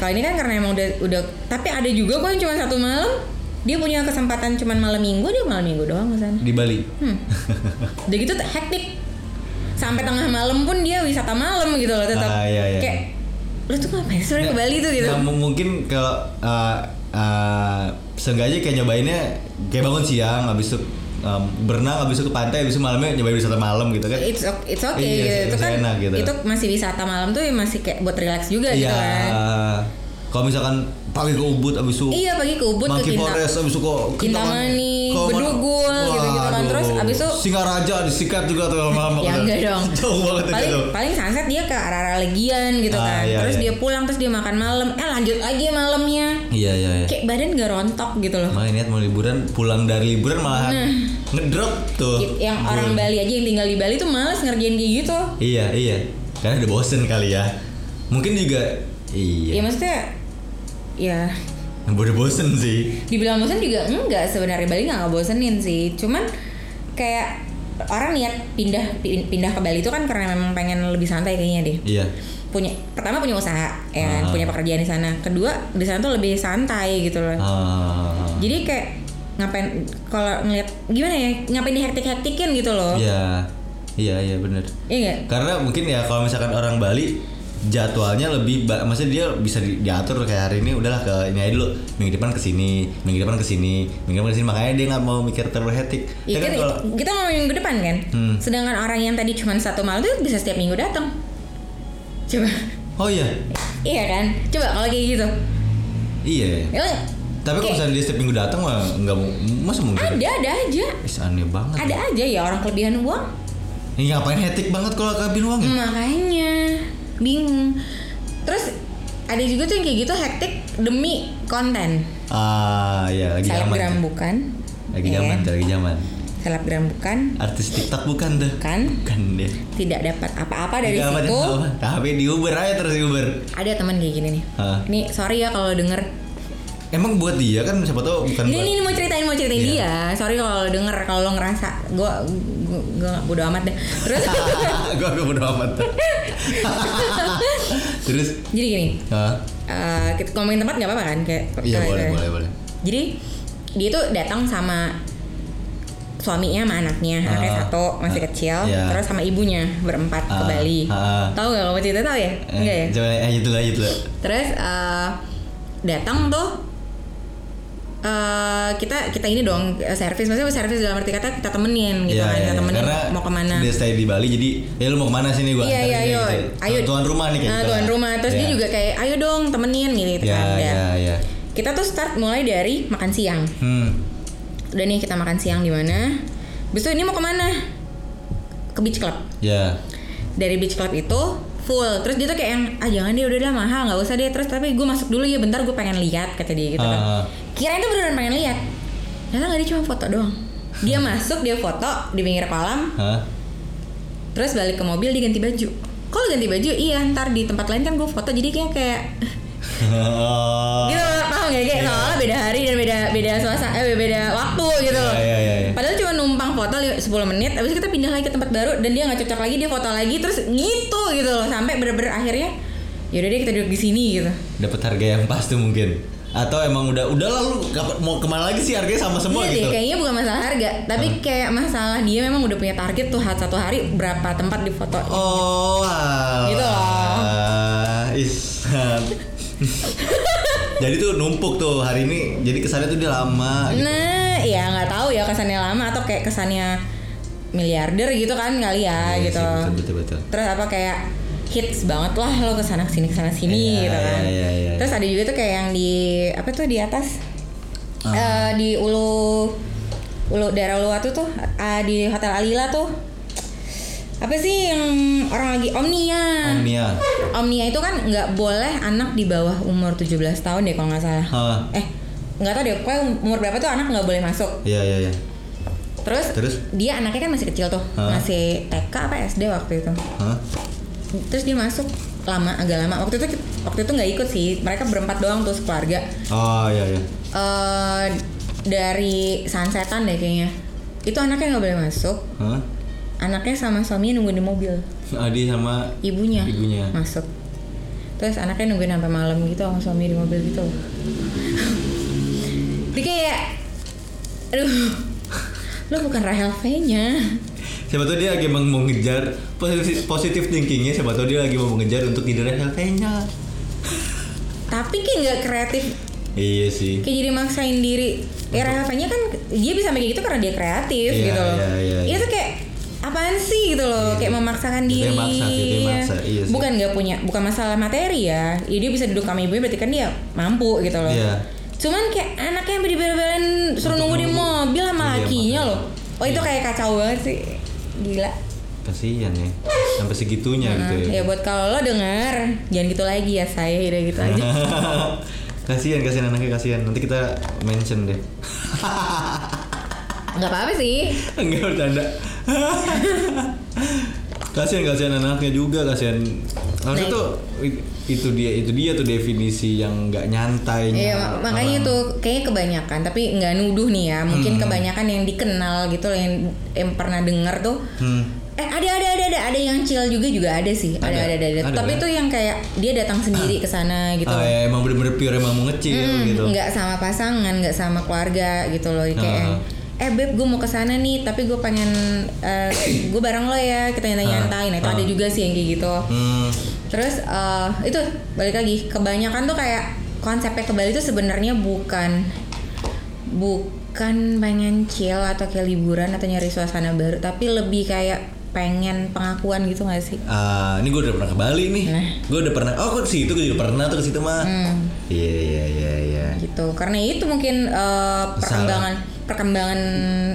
A: Kalau ini kan karena emang udah udah tapi ada juga kok yang cuma satu malam. Dia punya kesempatan cuma malam minggu dia malam minggu doang ke sana.
B: Di Bali.
A: Hmm. udah gitu hektik. Sampai tengah malam pun dia wisata malam gitu loh tetap.
B: Ah, iya, iya.
A: Kayak lu tuh ngapain sih sebenarnya ke Bali tuh gitu.
B: Nah, mu- mungkin kalau uh, uh, sengaja kayak nyobainnya kayak bangun siang habis itu um, berenang habis itu ke pantai habis itu malamnya nyobain wisata malam gitu kan.
A: It's ok- it's okay
B: Iya,
A: gitu. Itu
B: masih
A: kan
B: enak gitu.
A: itu masih wisata malam tuh masih kayak buat relax juga gitu kan.
B: Iya. Kalau misalkan pagi ke Ubud abis itu
A: Iya pagi ke Ubud ke
B: Monkey
A: Kinta-
B: Forest abis itu kok
A: Kintamani, Bedugul, gitu-gitu kan. Terus abis itu-
B: Singaraja disikat juga tuh lama-lama
A: Ya
B: kan.
A: enggak dong.
B: Jauh banget itu
A: paling
B: tuh.
A: paling sunset dia ke arah-arah Legian gitu
B: Ah,
A: kan.
B: iya,
A: terus
B: iya.
A: dia pulang terus dia makan malam. Eh lanjut lagi malamnya.
B: Iya iya iya.
A: Kayak badan gak rontok gitu loh.
B: Makanya niat mau liburan pulang dari liburan malahan ngedrop
A: Y- Nah.
B: tuh.
A: Gitu, Yang orang
B: Iya.
A: Bali aja yang tinggal di Bali tuh males ngerjain kayak gitu.
B: Iya iya. Karena udah bosen kali ya. Mungkin juga
A: Ya
B: iya.
A: maksudnya ya
B: Udah bosen sih.
A: dibilang bosan juga enggak sebenarnya Bali nggak ngebosenin sih. Cuman kayak orang niat pindah pin- pindah ke Bali itu kan karena memang pengen lebih santai kayaknya deh.
B: Iya.
A: punya pertama punya usaha ya kan?
B: Ah.
A: punya pekerjaan di sana kedua di sana tuh lebih santai gitu loh
B: Ah.
A: jadi kayak ngapain kalau ngeliat gimana ya ngapain di hektik hektikin gitu loh
B: Iya. Iya iya benar.
A: iya nggak
B: Karena mungkin ya kalau misalkan orang Bali jadwalnya lebih ba- maksudnya dia bisa di- diatur kayak hari ini udahlah ke ini aja dulu minggu depan ke sini minggu depan ke sini minggu depan ke sini makanya dia nggak mau mikir terlalu hektik
A: Ya,
B: Tapi
A: kan,
B: kalau
A: kita mau minggu depan kan
B: Hmm.
A: sedangkan orang yang tadi cuma satu malam tuh bisa setiap minggu datang coba
B: oh iya
A: iya kan coba kalau kayak gitu
B: iya
A: Ya,
B: tapi kalau
A: Kayak-
B: misalnya dia setiap minggu datang mah nggak mau masa mungkin
A: ada ada aja
B: Is, aneh banget
A: ada aja ya orang kelebihan uang
B: Ini ngapain hektik banget kalau kabin uang
A: Hmm.
B: ya?
A: Makanya bingung. Terus ada juga tuh yang kayak gitu hektik demi konten.
B: Ah, ya lagi zaman.
A: Selebgram
B: tuh.
A: bukan.
B: Lagi
A: ya
B: zaman,
A: kan?
B: tuh, lagi zaman.
A: Selebgram bukan.
B: Artis TikTok bukan tuh.
A: Bukan.
B: Bukan deh.
A: Tidak dapat apa-apa dari
B: Nggak apa,
A: situ.
B: apa. Tapi di Uber aja terus di Uber.
A: Ada teman kayak gini nih.
B: Hah.
A: Nih sorry ya kalau denger.
B: Emang buat dia kan siapa tahu bukan
A: Ini
B: buat.
A: nih mau ceritain mau ceritain
B: Iya.
A: dia. Sorry kalau lo denger kalau lo ngerasa gua gua, gua nggak bodo amat deh. Terus
B: Gua gak bodo amat. terus
A: jadi gini.
B: ah,
A: eh, kita ngomongin tempat nggak apa-apa kan kayak
B: Iya
A: kayak-
B: boleh
A: kayak-
B: boleh boleh.
A: Jadi dia tuh datang sama suaminya sama anaknya,
B: Ah.
A: anaknya satu masih kecil,
B: Iya.
A: terus sama ibunya berempat ke
B: Ah,
A: Bali.
B: ah.
A: Tahu gak kamu cerita tahu ya?
B: Eh,
A: Enggak ya.
B: Coba eh gitu lah gitu lah.
A: Terus eh, datang tuh eh, kita kita ini dong eh, servis maksudnya servis dalam arti kata kita temenin gitu
B: Iya,
A: kan
B: iya,
A: kita
B: iya.
A: temenin
B: Karena
A: mau kemana
B: Dia stay di Bali jadi ya lu mau kemana sini gua
A: iya iya
B: anterin
A: ayo
B: ya,
A: ayo
B: Tuan rumah nih kayak
A: Nah,
B: gitu
A: tuan
B: lah.
A: rumah terus dia
B: Iya.
A: juga kayak ayo dong temenin gitu, gitu
B: Ya
A: kan Dan
B: ya ya.
A: kita tuh start mulai dari makan siang
B: Hmm.
A: udah nih kita makan siang di mana besok ini mau kemana ke beach club
B: Ya.
A: dari beach club itu full terus dia tuh kayak yang ah jangan deh udah lah mahal nggak "Iya, usah deh terus tapi gue masuk dulu ya bentar gue pengen lihat kata dia gitu kan
B: Ah, ah.
A: kirain tuh beneran pengen lihat ternyata nggak dia cuma foto doang dia masuk dia foto di pinggir kolam
B: Hah?
A: terus balik ke mobil dia ganti baju kok lu ganti baju iya ntar di tempat lain kan gue foto jadi kayak kayak gitu paham gak
B: Iya.
A: kayak soalnya beda hari dan beda beda suasana eh beda waktu gitu
B: Iya,
A: loh
B: iya, iya, iya.
A: padahal cuma numpang foto li- 10 menit abis itu kita pindah lagi ke tempat baru dan dia nggak cocok lagi dia foto lagi terus gitu gitu loh sampai bener-bener akhirnya yaudah deh kita duduk di sini gitu
B: Dapat harga yang pas tuh mungkin. Atau emang udah udah lalu mau kemana lagi sih harganya sama semua
A: Iya
B: gitu.
A: deh, kayaknya bukan masalah harga, tapi kayak masalah dia memang udah punya target tuh satu hari berapa tempat di foto.
B: Oh, alah.
A: Gitu loh.
B: Is. jadi tuh numpuk tuh hari ini. Jadi kesannya tuh dia lama. gitu.
A: Nah, ya nggak tahu ya kesannya lama atau kayak kesannya miliarder gitu kan kali ya
B: Iya sih,
A: gitu.
B: betul, betul, betul.
A: Terus apa kayak hits banget lah lo kesana kesini kesana sini
B: Iya,
A: gitu kan.
B: iya, iya, iya.
A: Terus ada juga tuh kayak yang di apa tuh di atas
B: Ah.
A: Eh, di ulu ulu daerah Uluwatu tuh eh, di Hotel Alila tuh apa sih yang orang lagi Omnia.
B: Omnia.
A: Omnia itu kan nggak boleh anak di bawah umur 17 tahun deh kalau nggak salah.
B: Hah.
A: Eh, nggak tahu deh. Pokoknya um, umur berapa tuh anak nggak boleh masuk.
B: Iya, iya, iya.
A: Terus,
B: Terus?
A: dia anaknya kan masih kecil tuh,
B: Hah?
A: masih TK apa SD waktu itu.
B: Hah?
A: Terus dia masuk lama, agak lama. Waktu itu waktu itu nggak ikut sih. Mereka berempat doang tuh sekeluarga.
B: Oh, iya, iya.
A: Eh dari sunsetan deh kayaknya. Itu anaknya nggak boleh masuk.
B: Hah?
A: Anaknya sama suaminya nunggu di mobil.
B: Adi sama
A: ibunya,
B: Ibunya.
A: masuk terus anaknya nungguin sampai malam gitu sama suami di mobil gitu dia kayak aduh lo bukan Rahel V nya
B: Siapa tahu dia lagi emang mau ngejar positif, positif thinkingnya. Siapa tahu dia lagi mau ngejar untuk tidak ada nya
A: tapi kayak nggak kreatif
B: Iya sih.
A: kayak jadi maksain diri ya Rahel V nya kan dia bisa sampai kayak gitu karena dia kreatif
B: Iya,
A: gitu loh
B: iya, iya, iya.
A: itu kayak apaan sih gitu loh kayak memaksakan
B: Dia
A: diri
B: maksa sih, dia maksa. Iya sih.
A: bukan nggak punya bukan masalah materi ya, ya dia bisa duduk sama ibunya berarti kan dia mampu gitu loh
B: Iya.
A: Cuman kayak anaknya yang dibel-belain suruh
B: Untuk
A: nunggu di
B: nunggu.
A: mobil
B: Iya,
A: sama lakinya
B: makanya. Iya.
A: loh. Oh itu kayak kacau banget sih. Gila.
B: Kasihan ya. Sampai segitunya gitu
A: Nah, ya
B: ya.
A: buat kalau lo denger, jangan gitu lagi ya saya udah gitu aja.
B: kasihan kasihan anaknya kasihan. Nanti kita mention deh.
A: Gak apa-apa sih.
B: Enggak bercanda. kasihan kasihan anaknya juga kasihan. Harusnya
A: Nah,
B: tuh i- itu dia itu dia tuh definisi yang nggak nyantai.
A: Iya
B: orang.
A: mak- makanya itu kayaknya kebanyakan tapi nggak nuduh nih ya. Mungkin
B: Hmm.
A: kebanyakan yang dikenal gitu loh yang, yang pernah denger tuh.
B: Hmm.
A: Eh ada ada ada ada ada yang chill juga juga ada sih. Ada
B: Ada,
A: ada ada. ada.
B: ada,
A: tapi
B: kan?
A: itu yang kayak dia datang sendiri ke sana gitu.
B: Ah,
A: loh.
B: ya, emang bener-bener pure emang mau ngecil
A: Mm,
B: gitu.
A: nggak sama pasangan nggak sama keluarga gitu loh kayak yang,
B: Nah.
A: eh beb gue mau kesana nih tapi gue pengen eh, gue bareng lo ya kita nyantai nah itu
B: Ah.
A: ada juga sih yang kayak gitu
B: Hmm.
A: terus eh, itu balik lagi kebanyakan tuh kayak konsepnya ke Bali itu sebenarnya bukan bukan pengen chill atau kayak liburan atau nyari suasana baru tapi lebih kayak pengen pengakuan gitu gak sih
B: Ah, ini gue udah pernah ke Bali nih.
A: Nah.
B: Gue udah pernah. Oh, ke situ gue juga pernah tuh ke situ mah.
A: Hmm.
B: Iya iya iya iya.
A: gitu karena itu mungkin eh, perkembangan perkembangan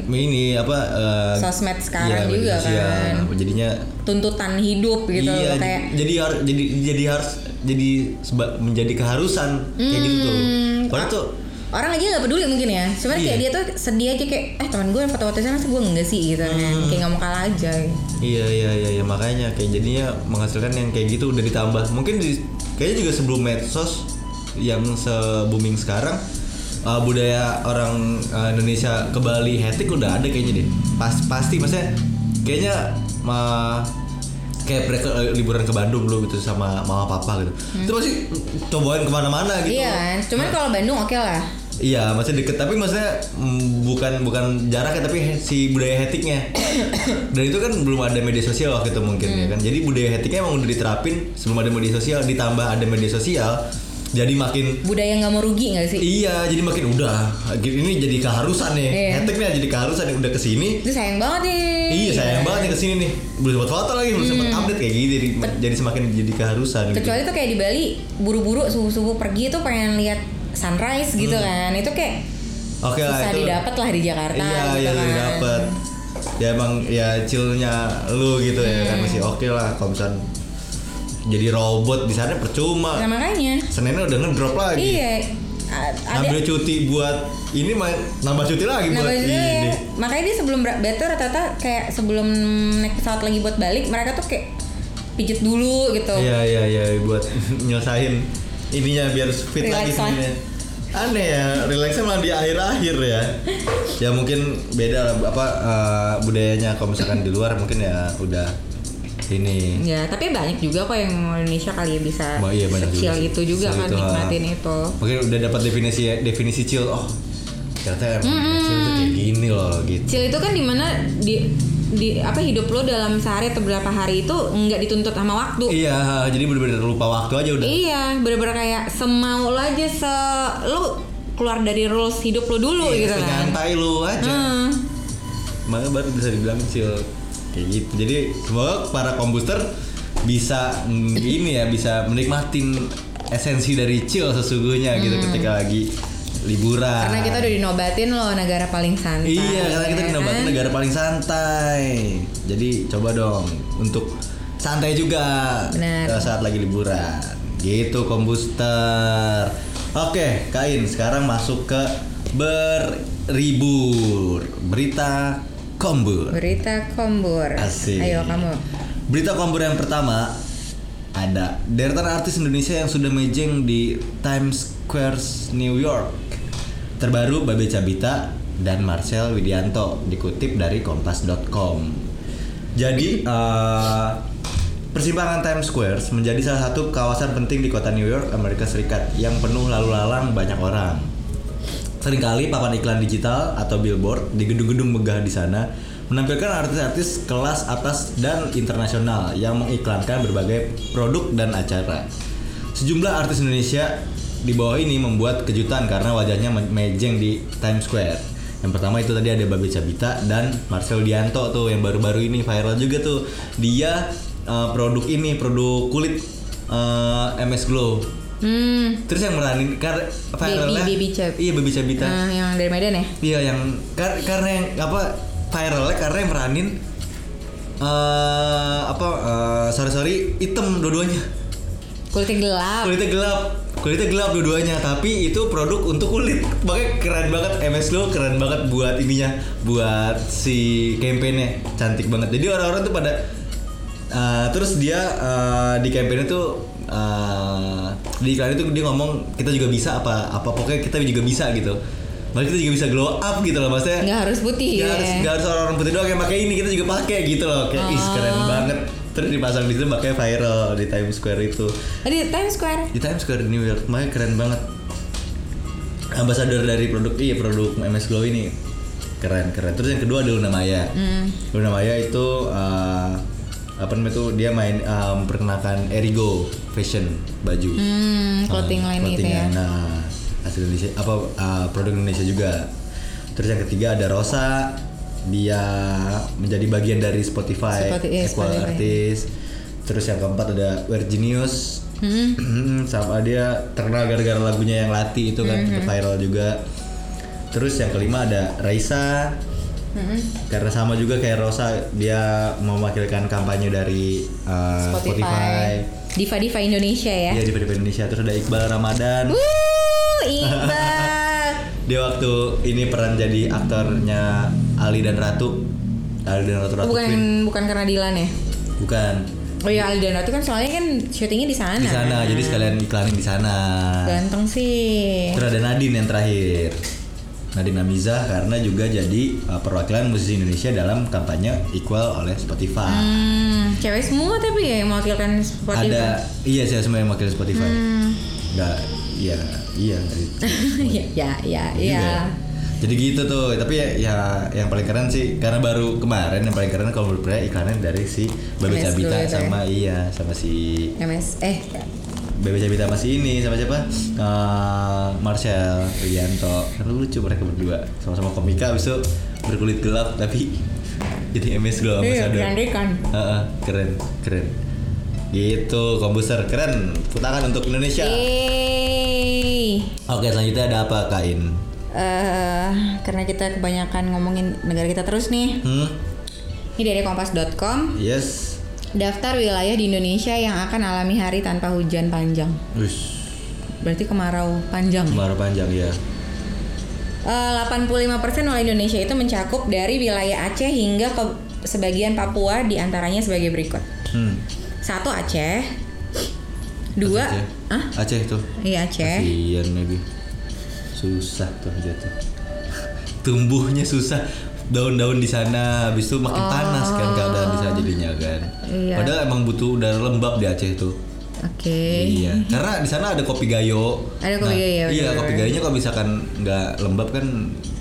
B: Ini apa eh,
A: Sosmed sekarang
B: media
A: juga kan.
B: sosial. iya. Nah, Jadinya
A: tuntutan hidup gitu
B: iya
A: loh kayak
B: j- jadi har- jadi jadi harus jadi seba- menjadi keharusan kayak gitu tuh.
A: Hmm,
B: Padahal tuh
A: orang aja nggak peduli mungkin ya cuman kayak dia tuh sedih aja kayak eh teman gue foto-foto sana masa gue enggak sih gitu kan kayak nggak mau kalah aja
B: Iya iya iya iya makanya kayak jadinya menghasilkan yang kayak gitu udah ditambah. Mungkin di- kayaknya juga sebelum medsos yang se booming sekarang uh, budaya orang uh, Indonesia ke Bali hetik udah ada kayaknya deh. Pas pasti maksudnya kayaknya uh, kayak mereka uh, liburan ke Bandung dulu gitu sama mama papa gitu. Itu pasti cobain kemana-mana gitu.
A: iya kan cuman kalau Bandung oke lah
B: Iya, maksudnya deket tapi maksudnya mm, bukan bukan jaraknya tapi he- si budaya hetiknya. Dan itu kan belum ada media sosial waktu itu mungkin
A: Hmm.
B: ya kan. Jadi budaya hetiknya emang udah diterapin sebelum ada media sosial ditambah ada media sosial jadi makin
A: budaya nggak mau rugi nggak sih
B: iya jadi makin udah ini jadi keharusan nih.
A: Iya.
B: Hetiknya jadi keharusan nih udah kesini.
A: itu sayang banget nih
B: Iya sayang banget nih kesini nih belum sempat foto lagi belum sempat update kayak gitu jadi, jadi semakin jadi keharusan gitu.
A: Hmm. kecuali tuh kayak di Bali buru-buru subuh-subuh pergi tuh pengen lihat sunrise gitu kan itu kayak
B: Oke
A: susah
B: lah Hmm. Ah, itu.
A: didapat lah di Jakarta
B: Iya,
A: gitu
B: iya
A: kan
B: lebih dapet. Ya emang ya chillnya lu gitu ya kan masih
A: Hmm.
B: oke lah kalau misalnya jadi robot di sana percuma.
A: Nah, makanya
B: Seninnya udah ngedrop lagi.
A: Iya. a- ada
B: Ambil cuti buat ini mah nambah cuti lagi
A: Nah,
B: buat
A: balik
B: ini.
A: dulu ya. makanya dia sebelum ber- better rata-rata kayak sebelum naik pesawat lagi buat balik mereka tuh kayak pijet dulu gitu.
B: Iya iya iya buat nyelesain ininya biar fit lagi
A: Relax lah.
B: sebenarnya. Aneh ya, relaxnya malah di akhir-akhir ya. Ya mungkin beda lah apa eh, budayanya kalau misalkan di luar mungkin ya udah ini.
A: Ya, tapi banyak juga kok yang orang Indonesia kali ya bisa
B: Ba- iya, banyak
A: chill
B: juga sih.
A: itu juga
B: Chill
A: kan
B: itu, ah.
A: nikmatin itu.
B: Mungkin udah dapat definisi definisi chill. Oh, ternyata emang chill tuh kayak gini loh gitu.
A: Chill itu kan dimana di di apa hidup lo dalam sehari atau berapa hari itu nggak dituntut sama waktu.
B: Iya, jadi bener-bener lupa waktu aja udah.
A: Iya, bener-bener kayak semau lo aja se lo keluar dari rules hidup lo dulu gitu kan.
B: Nyantai lu Iya, aja.
A: Hmm.
B: Makanya baru bisa dibilang chill kayak gitu. Jadi semoga para kombuster bisa mm, ini ya bisa menikmatin esensi dari chill sesungguhnya gitu ketika lagi liburan.
A: Mm. Karena kita udah dinobatin loh negara paling santai.
B: Iya, karena kita
A: ya
B: dinobatin
A: kan?
B: negara paling santai. Jadi coba dong untuk santai juga
A: Benar.
B: eh, saat lagi liburan. Gitu kombuster. Oke, Kain, sekarang masuk ke beribur. Berita kombur.
A: Berita kombur.
B: Asik.
A: Ayo kamu.
B: Berita kombur yang pertama ada deretan artis Indonesia yang sudah mejeng di Times Square New York. Terbaru Babe Cabita dan Marcel Widianto dikutip dari kompas.com. Jadi eh, persimpangan Times Square menjadi salah satu kawasan penting di kota New York, Amerika Serikat yang penuh lalu-lalang banyak orang. Seringkali papan iklan digital atau billboard di gedung-gedung megah di sana menampilkan artis-artis kelas atas dan internasional yang mengiklankan berbagai produk dan acara. Sejumlah artis Indonesia di bawah ini membuat kejutan karena wajahnya me- mejeng di Times Square. Yang pertama itu tadi ada Babe Cabita dan Marcel Dianto tuh yang baru-baru ini viral juga tuh. Dia eh, produk ini produk kulit eh, MS Glow.
A: Hmm.
B: Terus yang meranin karena viralnya
A: Baby Cab-
B: Iya Baby Cabita.
A: eh, yang dari Medan ya?
B: Iya yang kar- karena yang apa viralnya karena yang meranin eh apa eh, sorry sorry hitam dua-duanya
A: Kulitnya gelap.
B: kulitnya gelap kulitnya gelap dua-duanya tapi itu produk untuk kulit makanya keren banget MS lo keren banget buat ininya buat si campaignnya cantik banget jadi orang-orang tuh pada eh, terus dia eh, di campaignnya tuh eh, di iklan itu dia ngomong kita juga bisa apa apa pokoknya kita juga bisa gitu Makanya kita juga bisa glow up gitu loh maksudnya
A: Nggak harus putih ya.
B: Gak harus, nggak harus orang-orang putih doang yang pakai ini kita juga pakai gitu loh kayak ih keren
A: Oh.
B: banget terus dipasang di situ makanya viral di Times Square itu
A: Tadi Times Square.
B: di Times Square New York makanya keren banget ambasador dari produk iya produk MS Glow ini keren keren terus yang kedua ada Luna Maya
A: Hmm.
B: Luna Maya itu eh, apa namanya tuh dia main eh, memperkenalkan Erigo fashion baju
A: Hmm, clothing
B: Ah,
A: line itu ya.
B: clothingan. Nah, hasil Indonesia apa ah, produk Indonesia juga. Terus yang ketiga ada Rosa, dia menjadi bagian dari Spotify,
A: Seperti- iya,
B: Equal
A: Spotify.
B: Artis. Terus yang keempat ada Virginius.
A: Hmm,
B: Hmm, sama dia terkenal gara-gara lagunya yang Lati itu kan
A: Mhm.
B: viral juga. Terus yang kelima ada Raisa.
A: hmm,
B: Karena sama juga kayak Rosa, dia mewakilkan kampanye dari ah, Spotify.
A: Spotify. Diva-diva Indonesia ya.
B: Iya di Pdp Indonesia terus ada Iqbal Ramadan.
A: Wuh, Iqbal.
B: Dia waktu ini peran jadi aktornya Ali dan Ratu. Ali dan Ratu
A: Oh,
B: Ratu Queen.
A: bukan bukan karena Dilan ya.
B: Bukan
A: Oh ya Aldan itu kan soalnya kan syutingnya di sana. kan?
B: di sana. Jadi sekalian iklanin di sana.
A: Ganteng sih.
B: Terus ada Nadine yang terakhir. Nadine Amizah karena juga jadi uh, perwakilan musisi Indonesia dalam kampanye Equal oleh Spotify.
A: Hmm, cewek semua tapi ya yang mewakilkan
B: ada
A: Spotify.
B: iya saya semua yang wakil Spotify.
A: Hmm.
B: Enggak iya iya nggak-
A: ya, ya, ya,
B: Iya.
A: ya.
B: Jadi gitu tuh, tapi ya, ya yang paling keren sih karena baru kemarin yang paling keren kalau menurut saya iklannya dari si Bebe
A: Yes, dulu
B: Cabita
A: itu
B: sama iya sama si
A: MS eh
B: Bebe Cabita masih ini sama siapa? Eh, Marcel Widianto. Karena lucu mereka berdua sama-sama komika abis itu berkulit gelap tapi jadi MS Glow
A: Iya,
B: ambassador.
A: diandaikan.
B: Heeh, keren, keren. Gitu, kombuser keren. Tepuk tangan untuk
A: Iya.
B: Indonesia.
A: Yeay.
B: Oke, selanjutnya ada apa, Kain?
A: Eh, karena kita kebanyakan ngomongin negara kita terus nih.
B: Hmm?
A: Ini dari kompas.com,
B: Yes.
A: daftar wilayah di Indonesia yang akan alami hari tanpa hujan panjang.
B: Ush.
A: berarti kemarau panjang.
B: kemarau panjang ya
A: Eh, 85% oleh Indonesia itu mencakup dari wilayah Aceh hingga ke sebagian Papua diantaranya sebagai berikut.
B: hmm.
A: Satu Aceh, dua,
B: Aceh.
A: ah,
B: ya. Aceh tuh
A: iya Aceh,
B: kasihan lagi susah tuh jatuh tumbuhnya susah daun-daun di sana habis itu makin panas kan keadaan di sana jadinya kan
A: Oh. Iya.
B: padahal emang butuh udara lembab di Aceh tuh
A: oke.
B: Iya, karena di sana ada kopi gayo.
A: Eh. Ada kopi gayo, ya,
B: Iya,
A: bener.
B: kopi gayonya kalau misalkan nggak lembab kan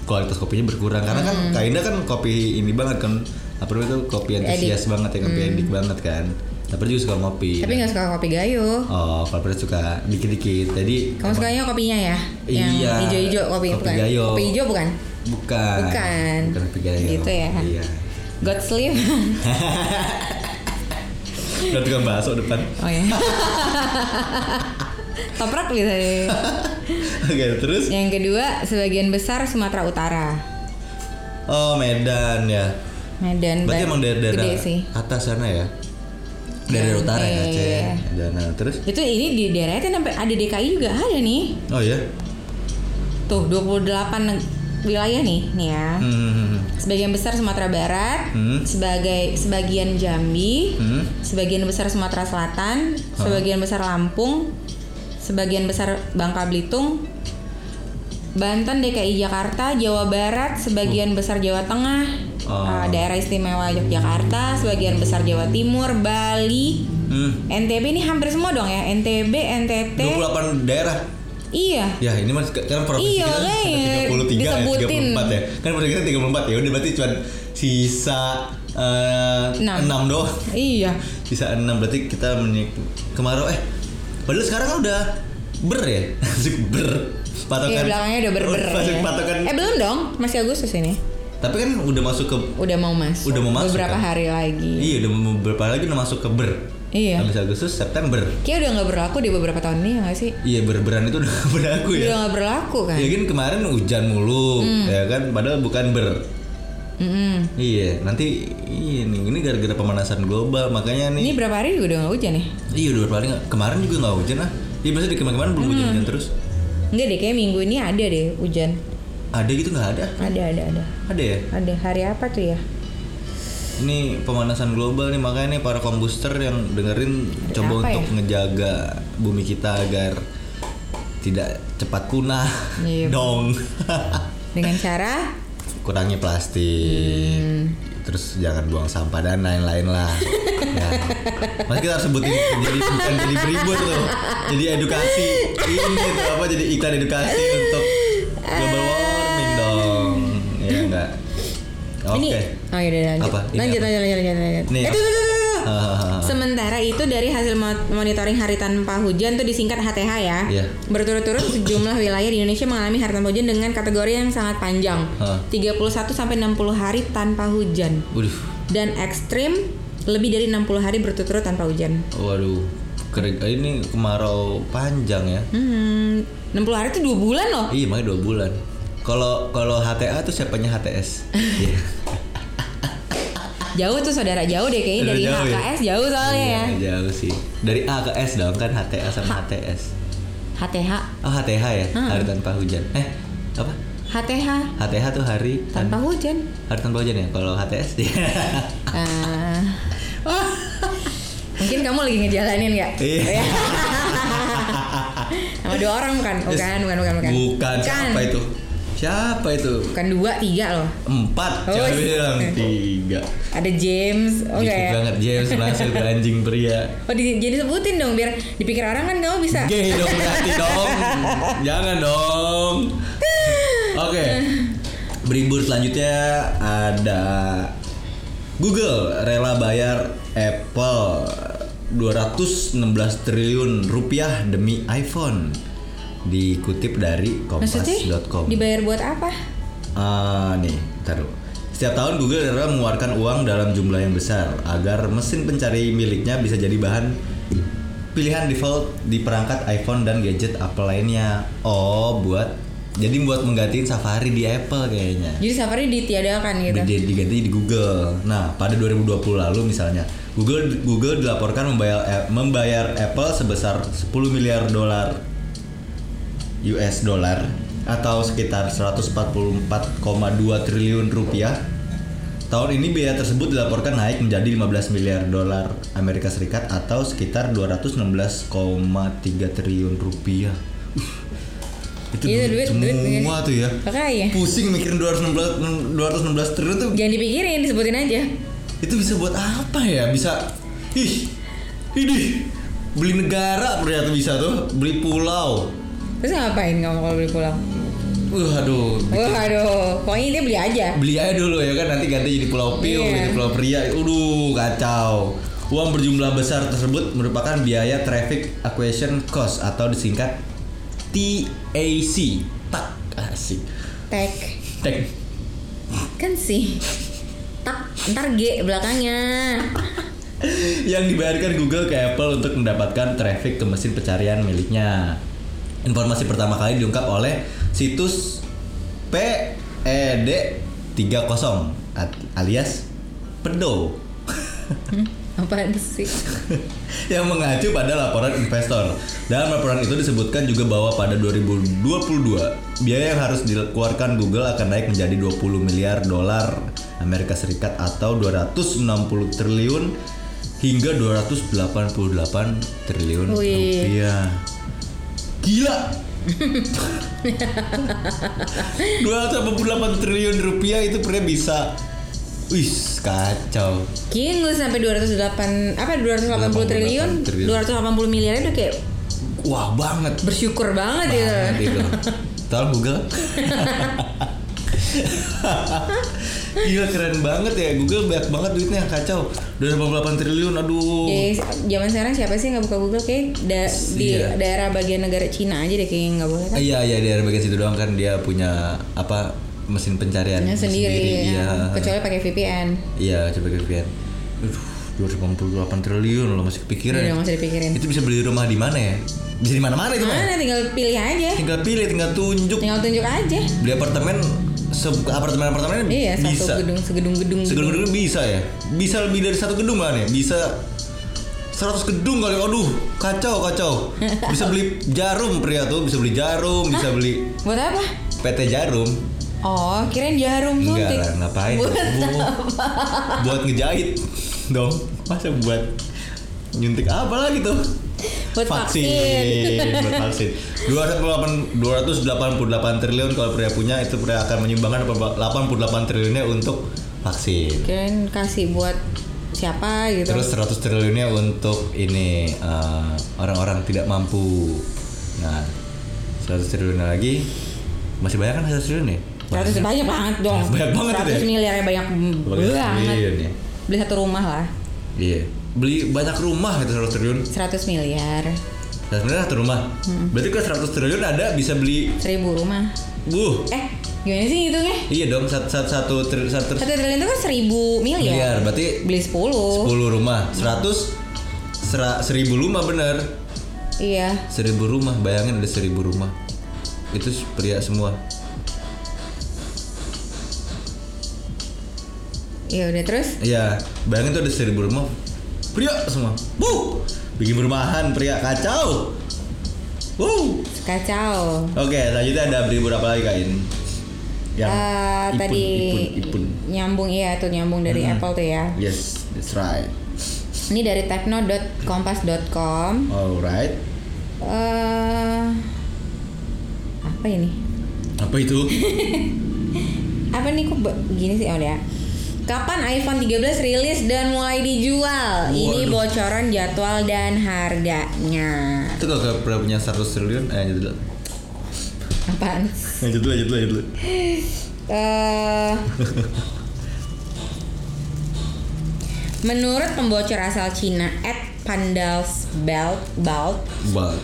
B: kualitas kopinya berkurang. Karena kan
A: Hmm.
B: Kainda kan kopi ini banget kan. Apa namanya tuh kopi antusias banget ya, kopi edik banget kan. Tapi juga suka ngopi.
A: Hmm. Tapi nggak suka kopi gayo.
B: Oh, kalau pernah suka dikit-dikit. Jadi
A: Kamu sukanya kopinya ya? Yang
B: Iya.
A: hijau-hijau kopi,
B: Kopi
A: bukan?
B: gayo.
A: Kopi hijau bukan?
B: bukan.
A: Bukan.
B: Bukan kopi gayo.
A: Gitu ya.
B: Iya.
A: God sleep.
B: Udah tukang bakso depan.
A: oh ya. Toprak gitu bisa deh.
B: Oke, terus
A: Yang kedua, sebagian besar Sumatera Utara.
B: oh Medan ya.
A: Medan
B: Berarti
A: Bali,
B: emang daerah-daerah
A: gede sih.
B: atas sana ya?
A: Iya,
B: Daerah utara ya
A: iya,
B: Aceh.
A: iya.
B: Dan, nah, terus?
A: Itu ini di daerahnya kan sampai ada DKI juga ada nih.
B: Oh ya?
A: Tuh, 28 neg- wilayah nih, nih ya.
B: Hmm.
A: Sebagian besar Sumatera Barat,
B: Hmm.
A: sebagai sebagian Jambi,
B: Hmm.
A: sebagian besar Sumatera Selatan, sebagian besar Lampung, sebagian besar Bangka Belitung, Banten, DKI Jakarta, Jawa Barat, sebagian besar Jawa Tengah,
B: Oh.
A: eh, daerah istimewa Yogyakarta, sebagian besar Jawa Timur, Bali,
B: Hmm.
A: NTB ini hampir semua dong ya, NTB, NTT,
B: 28 daerah.
A: iya.
B: Ya, ini mah kan provinsi
A: Iya,
B: kita
A: makanya
B: ada 33
A: disebutin.
B: ya, 34 ya. Kan provinsi kita 34 ya. Udah berarti cuma sisa eh,
A: Enam.
B: 6 doang.
A: Iya.
B: Sisa 6 berarti kita menik kemarau eh padahal sekarang kan udah ber ya. Asik ber.
A: Iya
B: Patokan.
A: belakangnya udah berber.
B: Masuk
A: ya.
B: Oh, patokan.
A: Eh belum dong, masih Agustus ini.
B: Tapi kan udah masuk ke
A: Udah mau masuk.
B: Udah mau masuk,
A: Beberapa
B: kan?
A: hari lagi.
B: Iya udah beberapa lagi udah masuk ke ber
A: Iya.
B: Habis Agustus September
A: Kayak udah nggak berlaku di beberapa tahun ini ya nggak sih?
B: Iya berberan itu udah berlaku
A: Udah
B: ya
A: nggak berlaku kan?
B: Ya kan kemarin hujan mulu
A: Hmm.
B: Ya kan padahal bukan ber
A: Mm-mm.
B: Iya nanti iya nih, ini gara-gara pemanasan global makanya
A: Ini
B: nih
A: berapa hari juga udah nggak hujan ya?
B: Iya udah paling kemarin juga nggak hujan ah Iya biasanya di kemarin-kemarin belum hujan-hujan
A: Hmm.
B: terus
A: Enggak deh, kayak minggu ini ada deh hujan.
B: Ada gitu nggak ada
A: Ada, ada, ada.
B: Ada ya
A: Ada hari apa tuh ya?
B: Ini pemanasan global nih makanya nih para kombuster yang dengerin coba
A: apa
B: untuk ngejaga bumi kita agar tidak cepat punah
A: Iya,
B: dong.
A: Dengan cara
B: Kurangi plastik.
A: Hmm.
B: Terus jangan buang sampah dan lain-lain lah. ya. Mas kita harus sebutin jadi bukan jadi beribut loh. Jadi edukasi ini tuh apa jadi iklan edukasi untuk global warming dong. Ya enggak. Oke.
A: ini. Oh iya, lanjut.
B: Apa? Ini
A: Lanjut,
B: apa?
A: lanjut, lanjut, lanjut, lanjut.
B: Nih, Ah.
A: Eh, tuh, tuh, tuh, tuh, tuh.
B: Hahaha.
A: Sementara itu dari hasil mo- monitoring hari tanpa hujan tuh disingkat HTH ya.
B: Iya.
A: Berturut-turut sejumlah wilayah di Indonesia mengalami hari tanpa hujan dengan kategori yang sangat panjang.
B: Hah.
A: 31 sampai 60 hari tanpa hujan
B: Waduh,
A: dan ekstrim lebih dari 60 hari berturut-turut tanpa hujan.
B: waduh. Kering, Eh, ini kemarau panjang ya.
A: Hmm, 60 hari itu dua bulan loh.
B: Iya, makanya dua bulan. Kalau kalau HTA tuh siapanya HTS? Iya.
A: Jauh tuh saudara jauh deh kayaknya
B: Udah
A: dari
B: jauh ya?
A: HKS jauh soalnya ya.
B: Iya, jauh sih. Dari A ke S dong kan HTA sama HTS.
A: HTH,
B: Oh, HTH ya?
A: Hmm.
B: Hari tanpa hujan. Eh, apa?
A: HTH
B: HTH tuh hari
A: tanpa hujan.
B: hari tanpa hujan ya? Kalau HTS iya.
A: Ah. Mungkin kamu lagi ngejalanin ya?
B: Iya.
A: Sama dua orang bukan? Bukan, Oh, kan, bukan, bukan, bukan. Kan.
B: Bukan
A: bukan.
B: siapa itu? Siapa itu?
A: Bukan dua, tiga loh.
B: Empat,
A: Oh,
B: siapa
A: iya.
B: bilang tiga.
A: Ada James, oh enggak
B: Gitu
A: ya?
B: banget James Blanchard anjing pria.
A: Oh, di, jadi sebutin dong biar dipikir orang kan kamu bisa.
B: Gay dong berarti dong. Jangan dong. Oke. Beribur selanjutnya ada Google rela bayar Apple 216 triliun rupiah demi iPhone. Dikutip dari
A: Maksudnya
B: kompas.com.
A: dibayar buat apa?
B: Ah, nih, taruh. Setiap tahun Google rela mengeluarkan uang dalam jumlah yang besar agar mesin pencari miliknya bisa jadi bahan pilihan default di perangkat iPhone dan gadget Apple lainnya. Oh, buat jadi buat menggantiin Safari di Apple kayaknya.
A: Jadi Safari ditiadakan gitu.
B: Di- diganti di Google. Nah, pada 2020 lalu misalnya, Google eh, Google dilaporkan membayar membayar Apple sebesar 10 miliar dolar US dollar atau sekitar 144,2 triliun rupiah. Tahun ini biaya tersebut dilaporkan naik menjadi 15 miliar dolar Amerika Serikat atau sekitar 216,3 triliun rupiah. Uh, itu
A: Iya,
B: duit,
A: duit, duit,
B: semua
A: duit.
B: tuh ya.
A: Makanya. iya.
B: Pusing mikirin 216 216 triliun tuh
A: Jangan dipikirin, disebutin aja.
B: itu bisa buat apa ya bisa ih ini beli negara ternyata bisa tuh beli pulau
A: Terus ngapain kamu kalau beli pulang?
B: uh aduh
A: Wah, aduh. Pokoknya dia beli aja.
B: beli aja dulu ya kan nanti ganti jadi pulau piu
A: Iya.
B: jadi pulau pria Uduh kacau uang berjumlah besar tersebut merupakan biaya traffic acquisition cost atau disingkat TAC tak asik
A: Tag.
B: Tek.
A: Kan sih. Tak, ntar G belakangnya.
B: yang dibayarkan Google ke Apple untuk mendapatkan traffic ke mesin pencarian miliknya. Informasi pertama kali diungkap oleh situs E PED30 at- alias pedo
A: Hmm, apaan sih?
B: yang mengacu pada laporan investor. Dalam laporan itu disebutkan juga bahwa pada 2022 biaya yang harus dikeluarkan Google akan naik menjadi 20 miliar dolar Amerika Serikat atau 260 triliun hingga 288 triliun
A: Wih.
B: rupiah. Gila. 288 triliun rupiah itu pernah bisa Wis kacau.
A: Kayaknya ngelulis sampai 208 apa 280 triliun,
B: 280 triliun.
A: 280 miliar udah kayak
B: Wah banget.
A: bersyukur banget ya.
B: banget itu. Nah, Tolong Google. Gila keren banget ya Google banyak banget duitnya kacau. 288 triliun aduh.
A: Ya, zaman sekarang siapa sih nggak buka Google kayak da- di
B: Iya.
A: daerah bagian negara Cina aja deh kayaknya nggak boleh kan?
B: Iya iya daerah bagian situ doang kan dia punya apa mesin pencarian
A: Nah, sendiri,
B: Iya.
A: ya. kecuali pakai VPN.
B: Iya coba kepikiran. Aduh 288 triliun loh masih kepikiran.
A: Udah nggak usah Iya dipikirin.
B: ya? Itu bisa beli rumah di mana ya? Bisa di mana-mana itu mah.
A: Mana tinggal pilih aja,
B: Tinggal pilih, tinggal tunjuk.
A: tinggal tunjuk aja.
B: Beli apartemen se apartemen apartemen
A: Iya, satu
B: bisa.
A: gedung, segedung-gedung. gitu.
B: Segedung gedung bisa ya? Bisa lebih dari satu gedung kan ya? Bisa 100 gedung kali. Aduh, kacau kacau. Bisa beli jarum pria tuh, bisa beli jarum, bisa beli
A: Buat apa?
B: PT Jarum.
A: Oh, kirain jarum
B: Enggak
A: suntik.
B: lah, ngapain?
A: Buat
B: Bu- buat ngejahit dong. Masa buat nyuntik apa lagi tuh?
A: Buat
B: buat vaksin. 288 288 triliun kalau pria punya itu pria akan menyumbangkan 88 triliunnya untuk vaksin.
A: kirain kasih buat siapa gitu.
B: Terus 100 triliunnya untuk ini eh, orang-orang tidak mampu. Nah, 100 triliun lagi masih banyak kan 100 triliun ya?
A: Ratus banyak banget dong.
B: Banyak banget itu ya?
A: 100 miliarnya banyak
B: Banyak
A: banget.
B: triliun ya.
A: Beli satu rumah lah.
B: Iya. Beli banyak rumah itu 100 triliun.
A: 100 miliar.
B: 100 triliun satu rumah. Berarti kalau 100 triliun ada bisa beli
A: 1000 rumah.
B: buh.
A: Eh, gimana sih hitungnya?
B: Iya dong satu satu satu tri- satu ya?
A: Satu triliun itu kan 1000 miliar.
B: miliar. Berarti
A: Beli 10.
B: 10 rumah, 100 sera- 1000 rumah bener.
A: Iya.
B: 1000 rumah, bayangin ada 1000 rumah. Itu pria semua.
A: Iya udah terus.
B: Iya, bayangin tuh ada seribu rumah pria semua. Wuh, bikin perumahan pria kacau. Wuh.
A: Kacau.
B: Oke, selanjutnya ada beribur apa lagi kain?
A: Eh,
B: Yang Ya, ipun,
A: tadi
B: ipun, ipun.
A: nyambung iya tuh nyambung dari Apple tuh ya.
B: Yes, that's right.
A: Ini dari techno.kompas.com.
B: Alright.
A: eh apa ini?
B: Apa itu?
A: Apa nih kok be- gini sih oh ya. Kapan iPhone 13 rilis dan mulai dijual? Ini
B: Waduh.
A: bocoran jadwal dan harganya.
B: itu kalau kau pernah punya 100 triliun, eh lanjut dulu.
A: Apaan?
B: Lanjut dulu, lanjut dulu, lanjut dulu.
A: eh menurut pembocor asal Cina at Pandals Belt, Belt
B: Wah. Oh,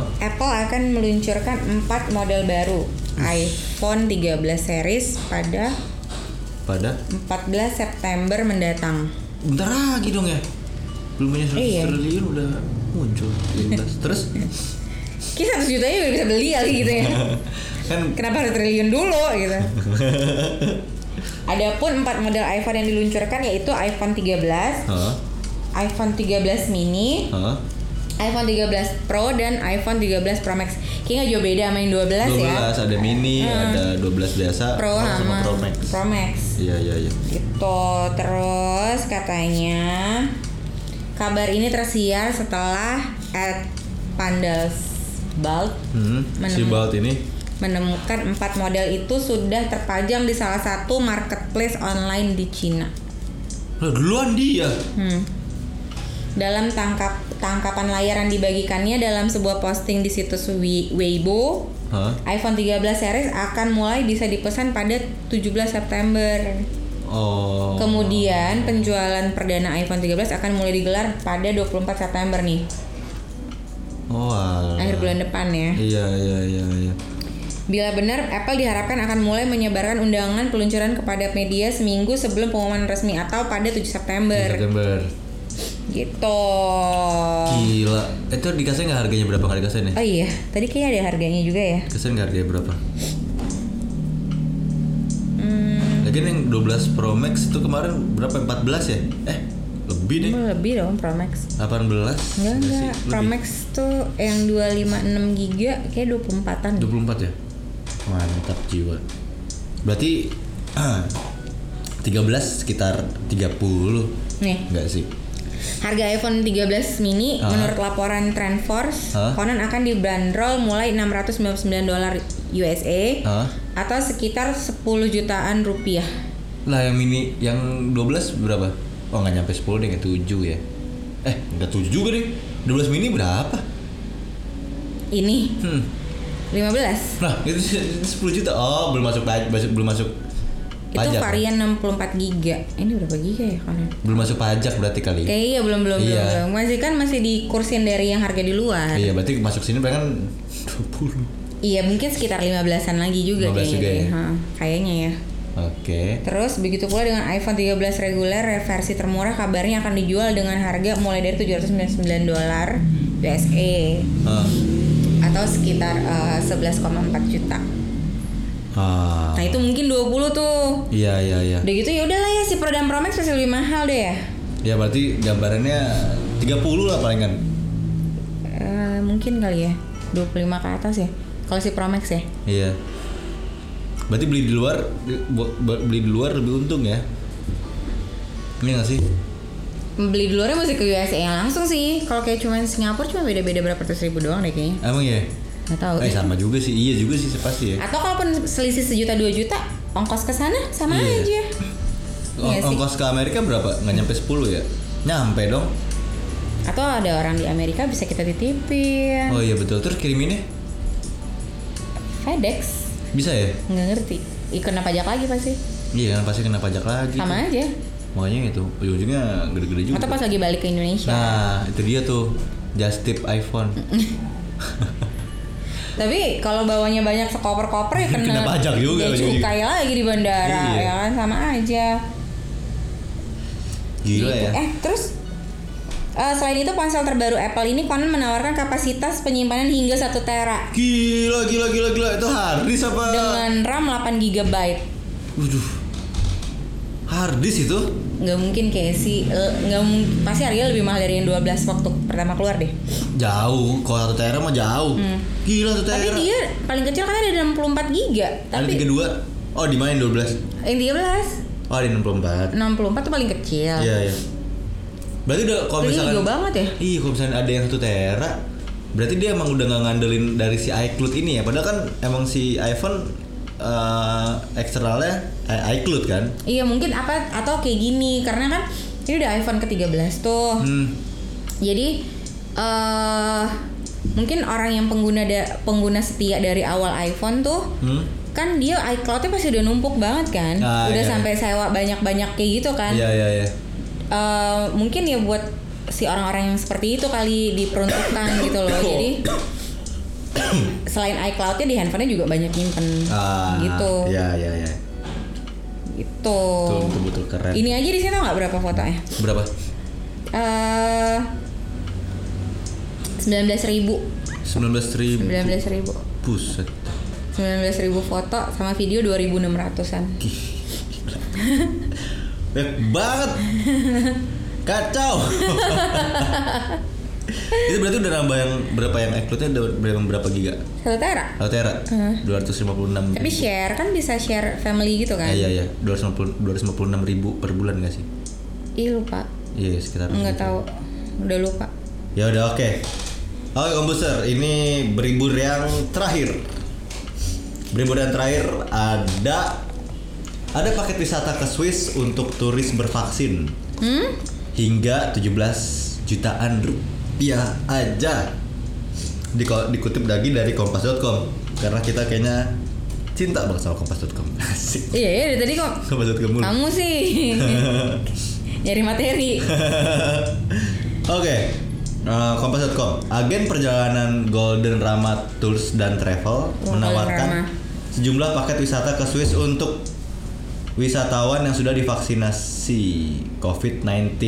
B: No.
A: Apple akan meluncurkan 4 model baru iPhone 13 series pada
B: Pada
A: 14 September mendatang.
B: bentar lagi dong ya. Belum punya 100
A: Iya.
B: triliun udah muncul. 15. Terus
A: Kita 100 jutanya udah bisa beli kali gitu ya.
B: kan
A: Kenapa harus triliun dulu gitu. Adapun 4 model iPhone yang diluncurkan yaitu iPhone 13,
B: Hah?
A: iPhone 13 mini,
B: Hah?
A: iPhone 13 Pro dan iPhone 13 Pro Max. Kayaknya nggak jauh beda sama yang 12,
B: 12
A: ya.
B: ada mini, ada 12 biasa,
A: Pro
B: sama
A: sama
B: Pro Max.
A: Pro Max.
B: Iya iya iya.
A: Gitu. Terus katanya kabar ini tersiar setelah at Pandals Bald
B: Hmm, si
A: Menemukan-
B: Balt ini
A: menemukan empat model itu sudah terpajang di salah satu marketplace online di Cina.
B: Lah, duluan dia.
A: Hmm. Dalam tangkap tangkapan layar yang dibagikannya dalam sebuah posting di situs Wei- Weibo,
B: Hah?
A: iPhone 13 series akan mulai bisa dipesan pada 17 September.
B: Oh.
A: Kemudian penjualan perdana iPhone 13 akan mulai digelar pada 24 September nih,
B: Oh. alah.
A: akhir bulan depan ya.
B: Iya iya iya iya.
A: Bila benar, Apple diharapkan akan mulai menyebarkan undangan peluncuran kepada media seminggu sebelum pengumuman resmi atau pada 7 September.
B: September.
A: Gitu.
B: Iya, Gila. Eh, Itu dikasih nggak harganya berapa nggak dikasih nih?
A: Oh iya, tadi kayaknya ada harganya juga ya.
B: Dikasih nggak harganya berapa?
A: Hmm.
B: Lagian yang 12 Pro Max itu kemarin berapa? 14 ya? Eh, lebih deh.
A: Lebih dong Pro Max.
B: 18.
A: Enggak
B: Nggak sih?
A: enggak, Pro
B: Lebih.
A: Max tuh yang 256 GB kayak 24-an.
B: 24 ya? Mantap jiwa. Berarti 13 sekitar 30.
A: Nih,
B: Enggak sih.
A: harga iPhone 13 mini
B: Ah.
A: menurut laporan Trendforce
B: Ah.
A: konon akan dibanderol mulai 699 dolar USA
B: Hah?
A: atau sekitar 10 jutaan rupiah.
B: Lah yang mini yang 12 berapa? Oh nggak nyampe 10 deh, kayak 7 ya. Eh, enggak 7 juga deh. 12 mini berapa?
A: Ini
B: Hmm.
A: 15.
B: Nah, itu se- 10 juta. Oh, belum masuk pajak, belum masuk
A: Itu
B: pajak. ya?
A: varian 64 GB. Ini berapa GB ya konon?
B: Belum masuk pajak berarti kali.
A: Kayak iya belum belum
B: Iya.
A: belum, belum. Masih kan masih dikursin dari yang harga di luar.
B: Iya, berarti masuk sini paling kan 20.
A: Iya mungkin sekitar 15-an lagi juga kayaknya.
B: 15 juga
A: deh.
B: ya?
A: Ha, kayaknya ya.
B: Oke.
A: Terus begitu pula dengan iPhone 13 reguler versi termurah kabarnya akan dijual dengan harga mulai dari 799 dolar USA
B: Ah.
A: atau sekitar eh, 11,4 juta.
B: Ah.
A: Nah, itu mungkin 20 tuh.
B: Iya, iya, iya.
A: Udah gitu ya udahlah ya si Pro dan Pro Max masih lebih mahal deh ya.
B: Ya berarti gambarannya 30 lah palingan.
A: Eh, mungkin kali ya 25 ke atas ya. Kalau si Pro Max ya.
B: Iya. Berarti beli di luar bu- bu- beli di luar lebih untung ya. Ini nggak sih?
A: Beli di luarnya mesti ke USA yang langsung sih. Kalau kayak cuman Singapura cuma beda-beda berapa ratus ribu doang deh kayaknya.
B: Emang ya?
A: Nggak tahu.
B: Eh sama juga sih. Iya juga sih pasti ya.
A: Atau kalaupun selisih sejuta dua juta, ongkos ke sana sama
B: Iya.
A: aja.
B: Ong-
A: Iya sih.
B: ongkos ke Amerika berapa? Nggak nyampe 10 ya? Nyampe dong.
A: Atau ada orang di Amerika bisa kita titipin.
B: Oh iya betul. Terus kiriminnya
A: FedEx
B: bisa ya?
A: nggak ngerti. Ih, kena pajak lagi pasti.
B: Iya kan pasti kena pajak lagi.
A: Sama aja.
B: Makanya itu ujung-ujungnya gede-gede juga.
A: Atau pas lagi balik ke Indonesia.
B: Nah, itu dia tuh. Just tip iPhone.
A: Tapi kalau bawanya banyak sekoper-koper ya kena,
B: Kena pajak juga
A: Dia
B: lagi.
A: cukai lagi di bandara
B: Iya.
A: ya kan sama aja. Gitu.
B: Gila ya.
A: Eh, terus eh, selain itu ponsel terbaru Apple ini konon menawarkan kapasitas penyimpanan hingga 1 tera
B: Gila, gila, gila, gila. Itu Hardis apa?
A: dengan RAM 8 GB.
B: Waduh. Hardis itu?
A: Nggak mungkin kayak si eh, nggak mung- pasti harganya lebih mahal dari yang 12 waktu pertama keluar deh.
B: Jauh. Kalau satu tera mah jauh. Gila satu tera.
A: Hmm. Tapi dia paling kecil kan ada 64 GB,
B: Ada
A: tapi
B: tiga dua. Oh, di mana yang 12?
A: yang 13
B: Oh, ada 64.
A: 64 tuh paling kecil.
B: Iya, iya. Berarti udah kalau
A: Itu
B: misalkan
A: jauh banget ya.
B: Iya, kalau misalkan ada yang satu tera, berarti dia emang udah nggak ngandelin dari si iCloud ini ya. Padahal kan emang si iPhone eh, eksternalnya i- iCloud kan.
A: Iya mungkin apa atau kayak gini karena kan ini udah iPhone ke-13 tuh.
B: Hmm.
A: Jadi eh mungkin orang yang pengguna da- pengguna setia dari awal iPhone tuh
B: Hmm.
A: kan dia iCloud-nya pasti udah numpuk banget kan.
B: Ah,
A: udah
B: iya.
A: sampai sewa banyak-banyak kayak gitu kan.
B: Iya, iya, iya.
A: Eh, mungkin ya buat si orang-orang yang seperti itu kali diperuntukkan gitu loh. Jadi selain iCloud-nya di handphonenya juga banyak nyimpen
B: Ah,
A: gitu.
B: Iya, iya, iya.
A: Gitu.
B: Betul, betul, betul keren.
A: Ini aja di sini tau nggak berapa fotonya? Eh,
B: berapa?
A: sembilan belas ribu
B: 19 ribu.
A: sembilan belas ribu
B: Buset.
A: foto sama video 2.600an
B: Eh, banget. Kacau. itu berarti udah nambah yang berapa yang uploadnya udah berapa berapa giga?
A: Satu tera.
B: Satu tera?
A: Heeh.
B: Dua ratus lima puluh enam.
A: Tapi share kan bisa share family gitu kan?
B: Iya iya dua ratus lima puluh enam ribu per bulan nggak sih?
A: Ih lupa.
B: Iya sekitar.
A: Nggak tahu. Udah lupa.
B: Ya udah oke. Oke komputer, ini beribur yang terakhir. Beribur yang terakhir ada ada paket wisata ke Swiss untuk turis bervaksin
A: Hmm?
B: hingga 17 jutaan rupiah aja. Diko- dikutip lagi dari kompas.com karena kita kayaknya cinta banget sama kompas.com. Asik.
A: Iya iya dari tadi kok.
B: Kompas.com mulu.
A: Kamu sih. Nyari materi.
B: Oke, eh, kompas.com. Agen perjalanan Golden Rama Tours dan Travel
A: Golden Rama.
B: menawarkan sejumlah paket wisata ke Swiss untuk wisatawan yang sudah divaksinasi COVID-19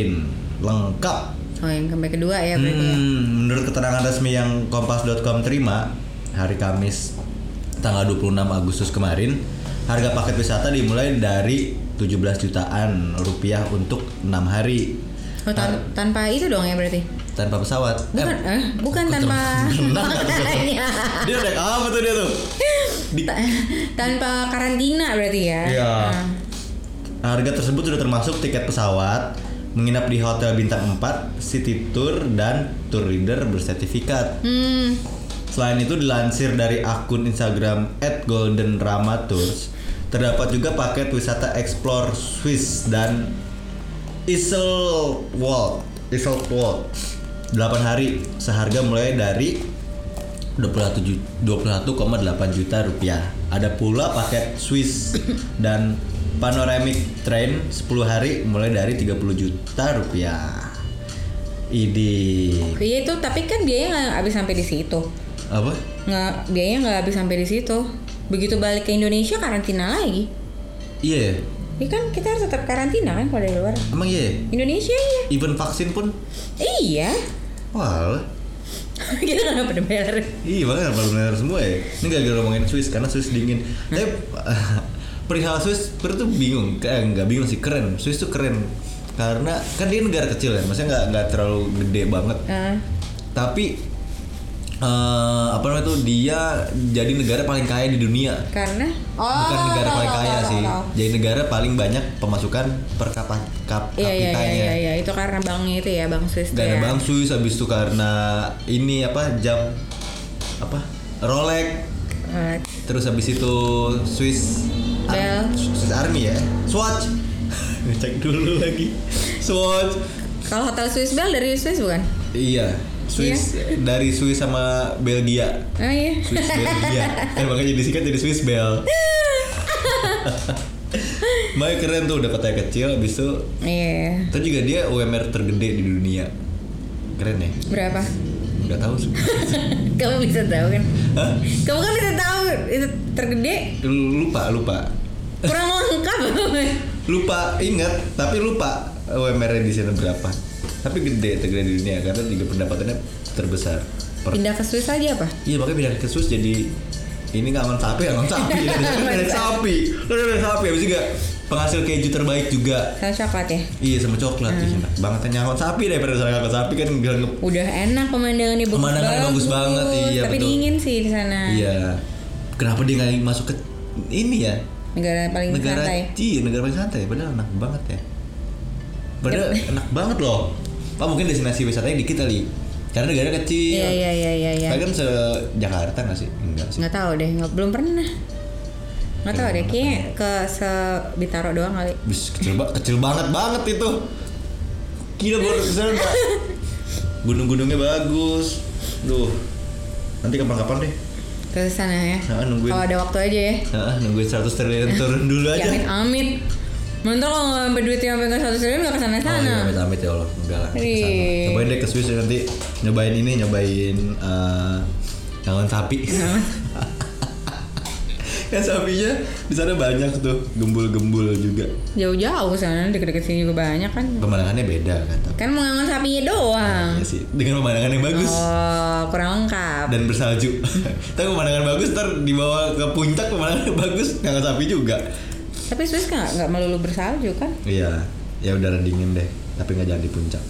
B: lengkap.
A: Oh yang sampai kedua ya berarti. ya.
B: Hmm, menurut keterangan resmi yang kompas.com terima hari Kamis tanggal 26 Agustus kemarin, harga paket wisata dimulai dari 17 jutaan rupiah untuk enam hari
A: Oh, tan- tanpa itu dong ya berarti.
B: tanpa pesawat.
A: Bukan, Iya.
B: Eh,
A: eh, bukan tanpa makanya.
B: dia naik apa tuh dia tuh? Di-
A: Ta- tanpa karantina berarti ya.
B: Iya.
A: Nah,
B: Harga tersebut sudah termasuk tiket pesawat, menginap di hotel bintang 4, city tour dan tour leader bersertifikat.
A: Hmm.
B: Selain itu dilansir dari akun Instagram @goldenramatours, terdapat juga paket wisata Explore Swiss dan Isselwald. Isselwald. 8 hari seharga mulai dari 21 ju- 21,8 juta rupiah. Ada pula paket Swiss dan Panoramic Train 10 hari mulai dari 30 juta rupiah. Ini
A: Iya itu tapi kan biaya nggak habis sampai di situ.
B: apa?
A: Nggak biaya nggak habis sampai di situ. Begitu balik ke Indonesia karantina lagi.
B: Iya. ya?
A: Ya kan kita harus tetap karantina kan kalau dari luar.
B: Emang iya? ya?
A: Indonesia ya.
B: Even vaksin pun
A: Iya.
B: Wah
A: Kita nggak pernah bayar.
B: Iya makanya pada benar semua ya Ini gara-gara ngomongin Swiss Karena Swiss dingin Tapi perihal Swiss Pernah tuh bingung Kayak nggak bingung sih Keren Swiss tuh keren Karena Kan dia negara kecil ya Maksudnya nggak nggak terlalu gede banget
A: Nah,
B: Tapi eh, Apa namanya tuh Dia jadi negara paling kaya di dunia
A: karena oh,
B: Bukan negara
A: tahu,
B: paling
A: tahu,
B: kaya
A: tahu,
B: sih
A: tahu.
B: Jadi negara paling banyak pemasukan per kapita
A: Iya iya iya
B: kapitanya
A: iya iya. itu karena banknya itu ya bank Swiss itu
B: Gak ada
A: ya.
B: Bang Suis habis itu karena ini apa jam apa Rolex
A: Eh,
B: terus habis itu Swiss Ar-
A: Bell.
B: Swiss Army ya Swatch cek dulu lagi Swatch
A: kalau hotel Swiss Bell dari Swiss bukan?
B: iya Swiss dari Swiss sama Belgia
A: Oh iya.
B: Swiss Belgia eh makanya jadi singkat jadi Swiss Bell Makanya keren tuh udah kota kecil habis itu
A: Iya.
B: Terus juga dia UMR tergede di dunia Keren ya?
A: Berapa?
B: Nggak tahu sih
A: Kamu bisa tahu kan?
B: Hah?
A: Kamu kan bisa tahu itu tergede
B: lupa lupa
A: kurang lengkap.
B: lupa ingat tapi lupa UMR di sana berapa tapi gede tergede di dunia karena juga pendapatannya terbesar per-
A: Pindah ke Swiss aja apa?
B: iya makanya pindah ke Swiss jadi ini ngaman sapi ngaman sapi ada sapi ada sapi habis juga penghasil keju terbaik juga
A: Sama coklat ya.
B: iya sama coklat Ih, enak banget ya, nyaman sapi daripada nyaman sapi kan gak nge-
A: Udah enak pemandangannya bagus
B: Pemandangannya bagus banget, iya,
A: Tapi
B: betul.
A: dingin sih di sana.
B: iya kenapa dia nggak masuk ke ini ya
A: Negara paling
B: negara
A: santai.
B: iya negara paling santai padahal enak banget ya padahal enak banget loh pak mungkin destinasi wisatanya dikit kali karena negara kecil
A: Iya iya iya iya iya.
B: Tapi kan se Jakarta nggak sih enggak sih
A: Nggak tahu deh, nggak belum pernah. Nggak tahu deh, kayaknya ke se Bitaro doang kali.
B: Bus, kecil ba- kecil banget banget itu gila baru kesana Pak. gunung-gunungnya bagus duh nanti kapan-kapan deh
A: Ke sana ya.
B: Nah, nungguin.
A: Kalau ada waktu aja ya.
B: Heeh, nungguin 100 triliun turun dulu aja
A: Amit amit. Mantap kalau nggak sampai duitnya sampai ke satu triliun nggak ke sana
B: Oh,
A: sana.
B: iya, amit amit ya Allah, enggak lah.
A: Wih.
B: kesana. Cobain deh ke Swiss ya, nanti nyobain ini, nyobain eh jangan sapi. kan sapinya di sana banyak tuh, gembul-gembul juga.
A: Jauh-jauh ke sana, deket-deket sini juga banyak kan.
B: Pemandangannya beda kan. tapi-
A: Kan mau ngangon sapinya doang.
B: Iya sih, dengan pemandangan yang bagus
A: Nah. Oh, kurang lengkap.
B: dan bersalju. Tapi pemandangan bagus ntar dibawa ke puncak pemandangan bagus, jangan sapi juga.
A: Tapi Swiss kan nggak- nggak melulu bersalju kan?
B: Iya, ya udara dingin deh, tapi nggak jangan di puncak.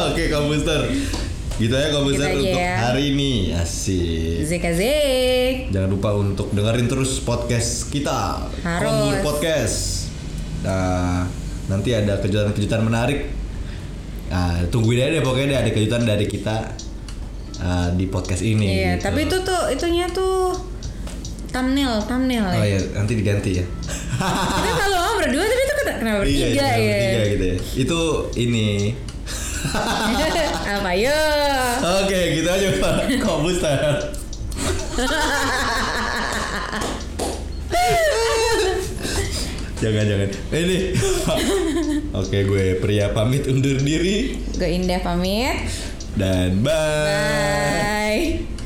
B: Oke, Kak Booster. Gitu ya Kak
A: aja
B: Booster untuk
A: ya.
B: hari ini. Asik.
A: Zek.
B: Jangan lupa untuk dengerin terus podcast kita.
A: Harus.
B: Kongur Podcast. Nah, nanti ada kejutan-kejutan menarik. Nah, tungguin aja deh pokoknya deh ada kejutan dari kita eh, di podcast ini.
A: Iya,
B: gitu.
A: tapi itu tuh itunya tuh thumbnail, thumbnail. ya.
B: Oh iya, nanti diganti ya.
A: Kita selalu ngomong berdua tapi itu kena- kenapa bertiga
B: iya,
A: ya?
B: bertiga gitu ya. Itu ini.
A: Apa yo?
B: Oke, kita aja Pak. Kak Booster. jangan jangan. Ini. Oke, gue pria pamit undur diri
A: Gue Indah pamit.
B: dan bye.
A: Bye.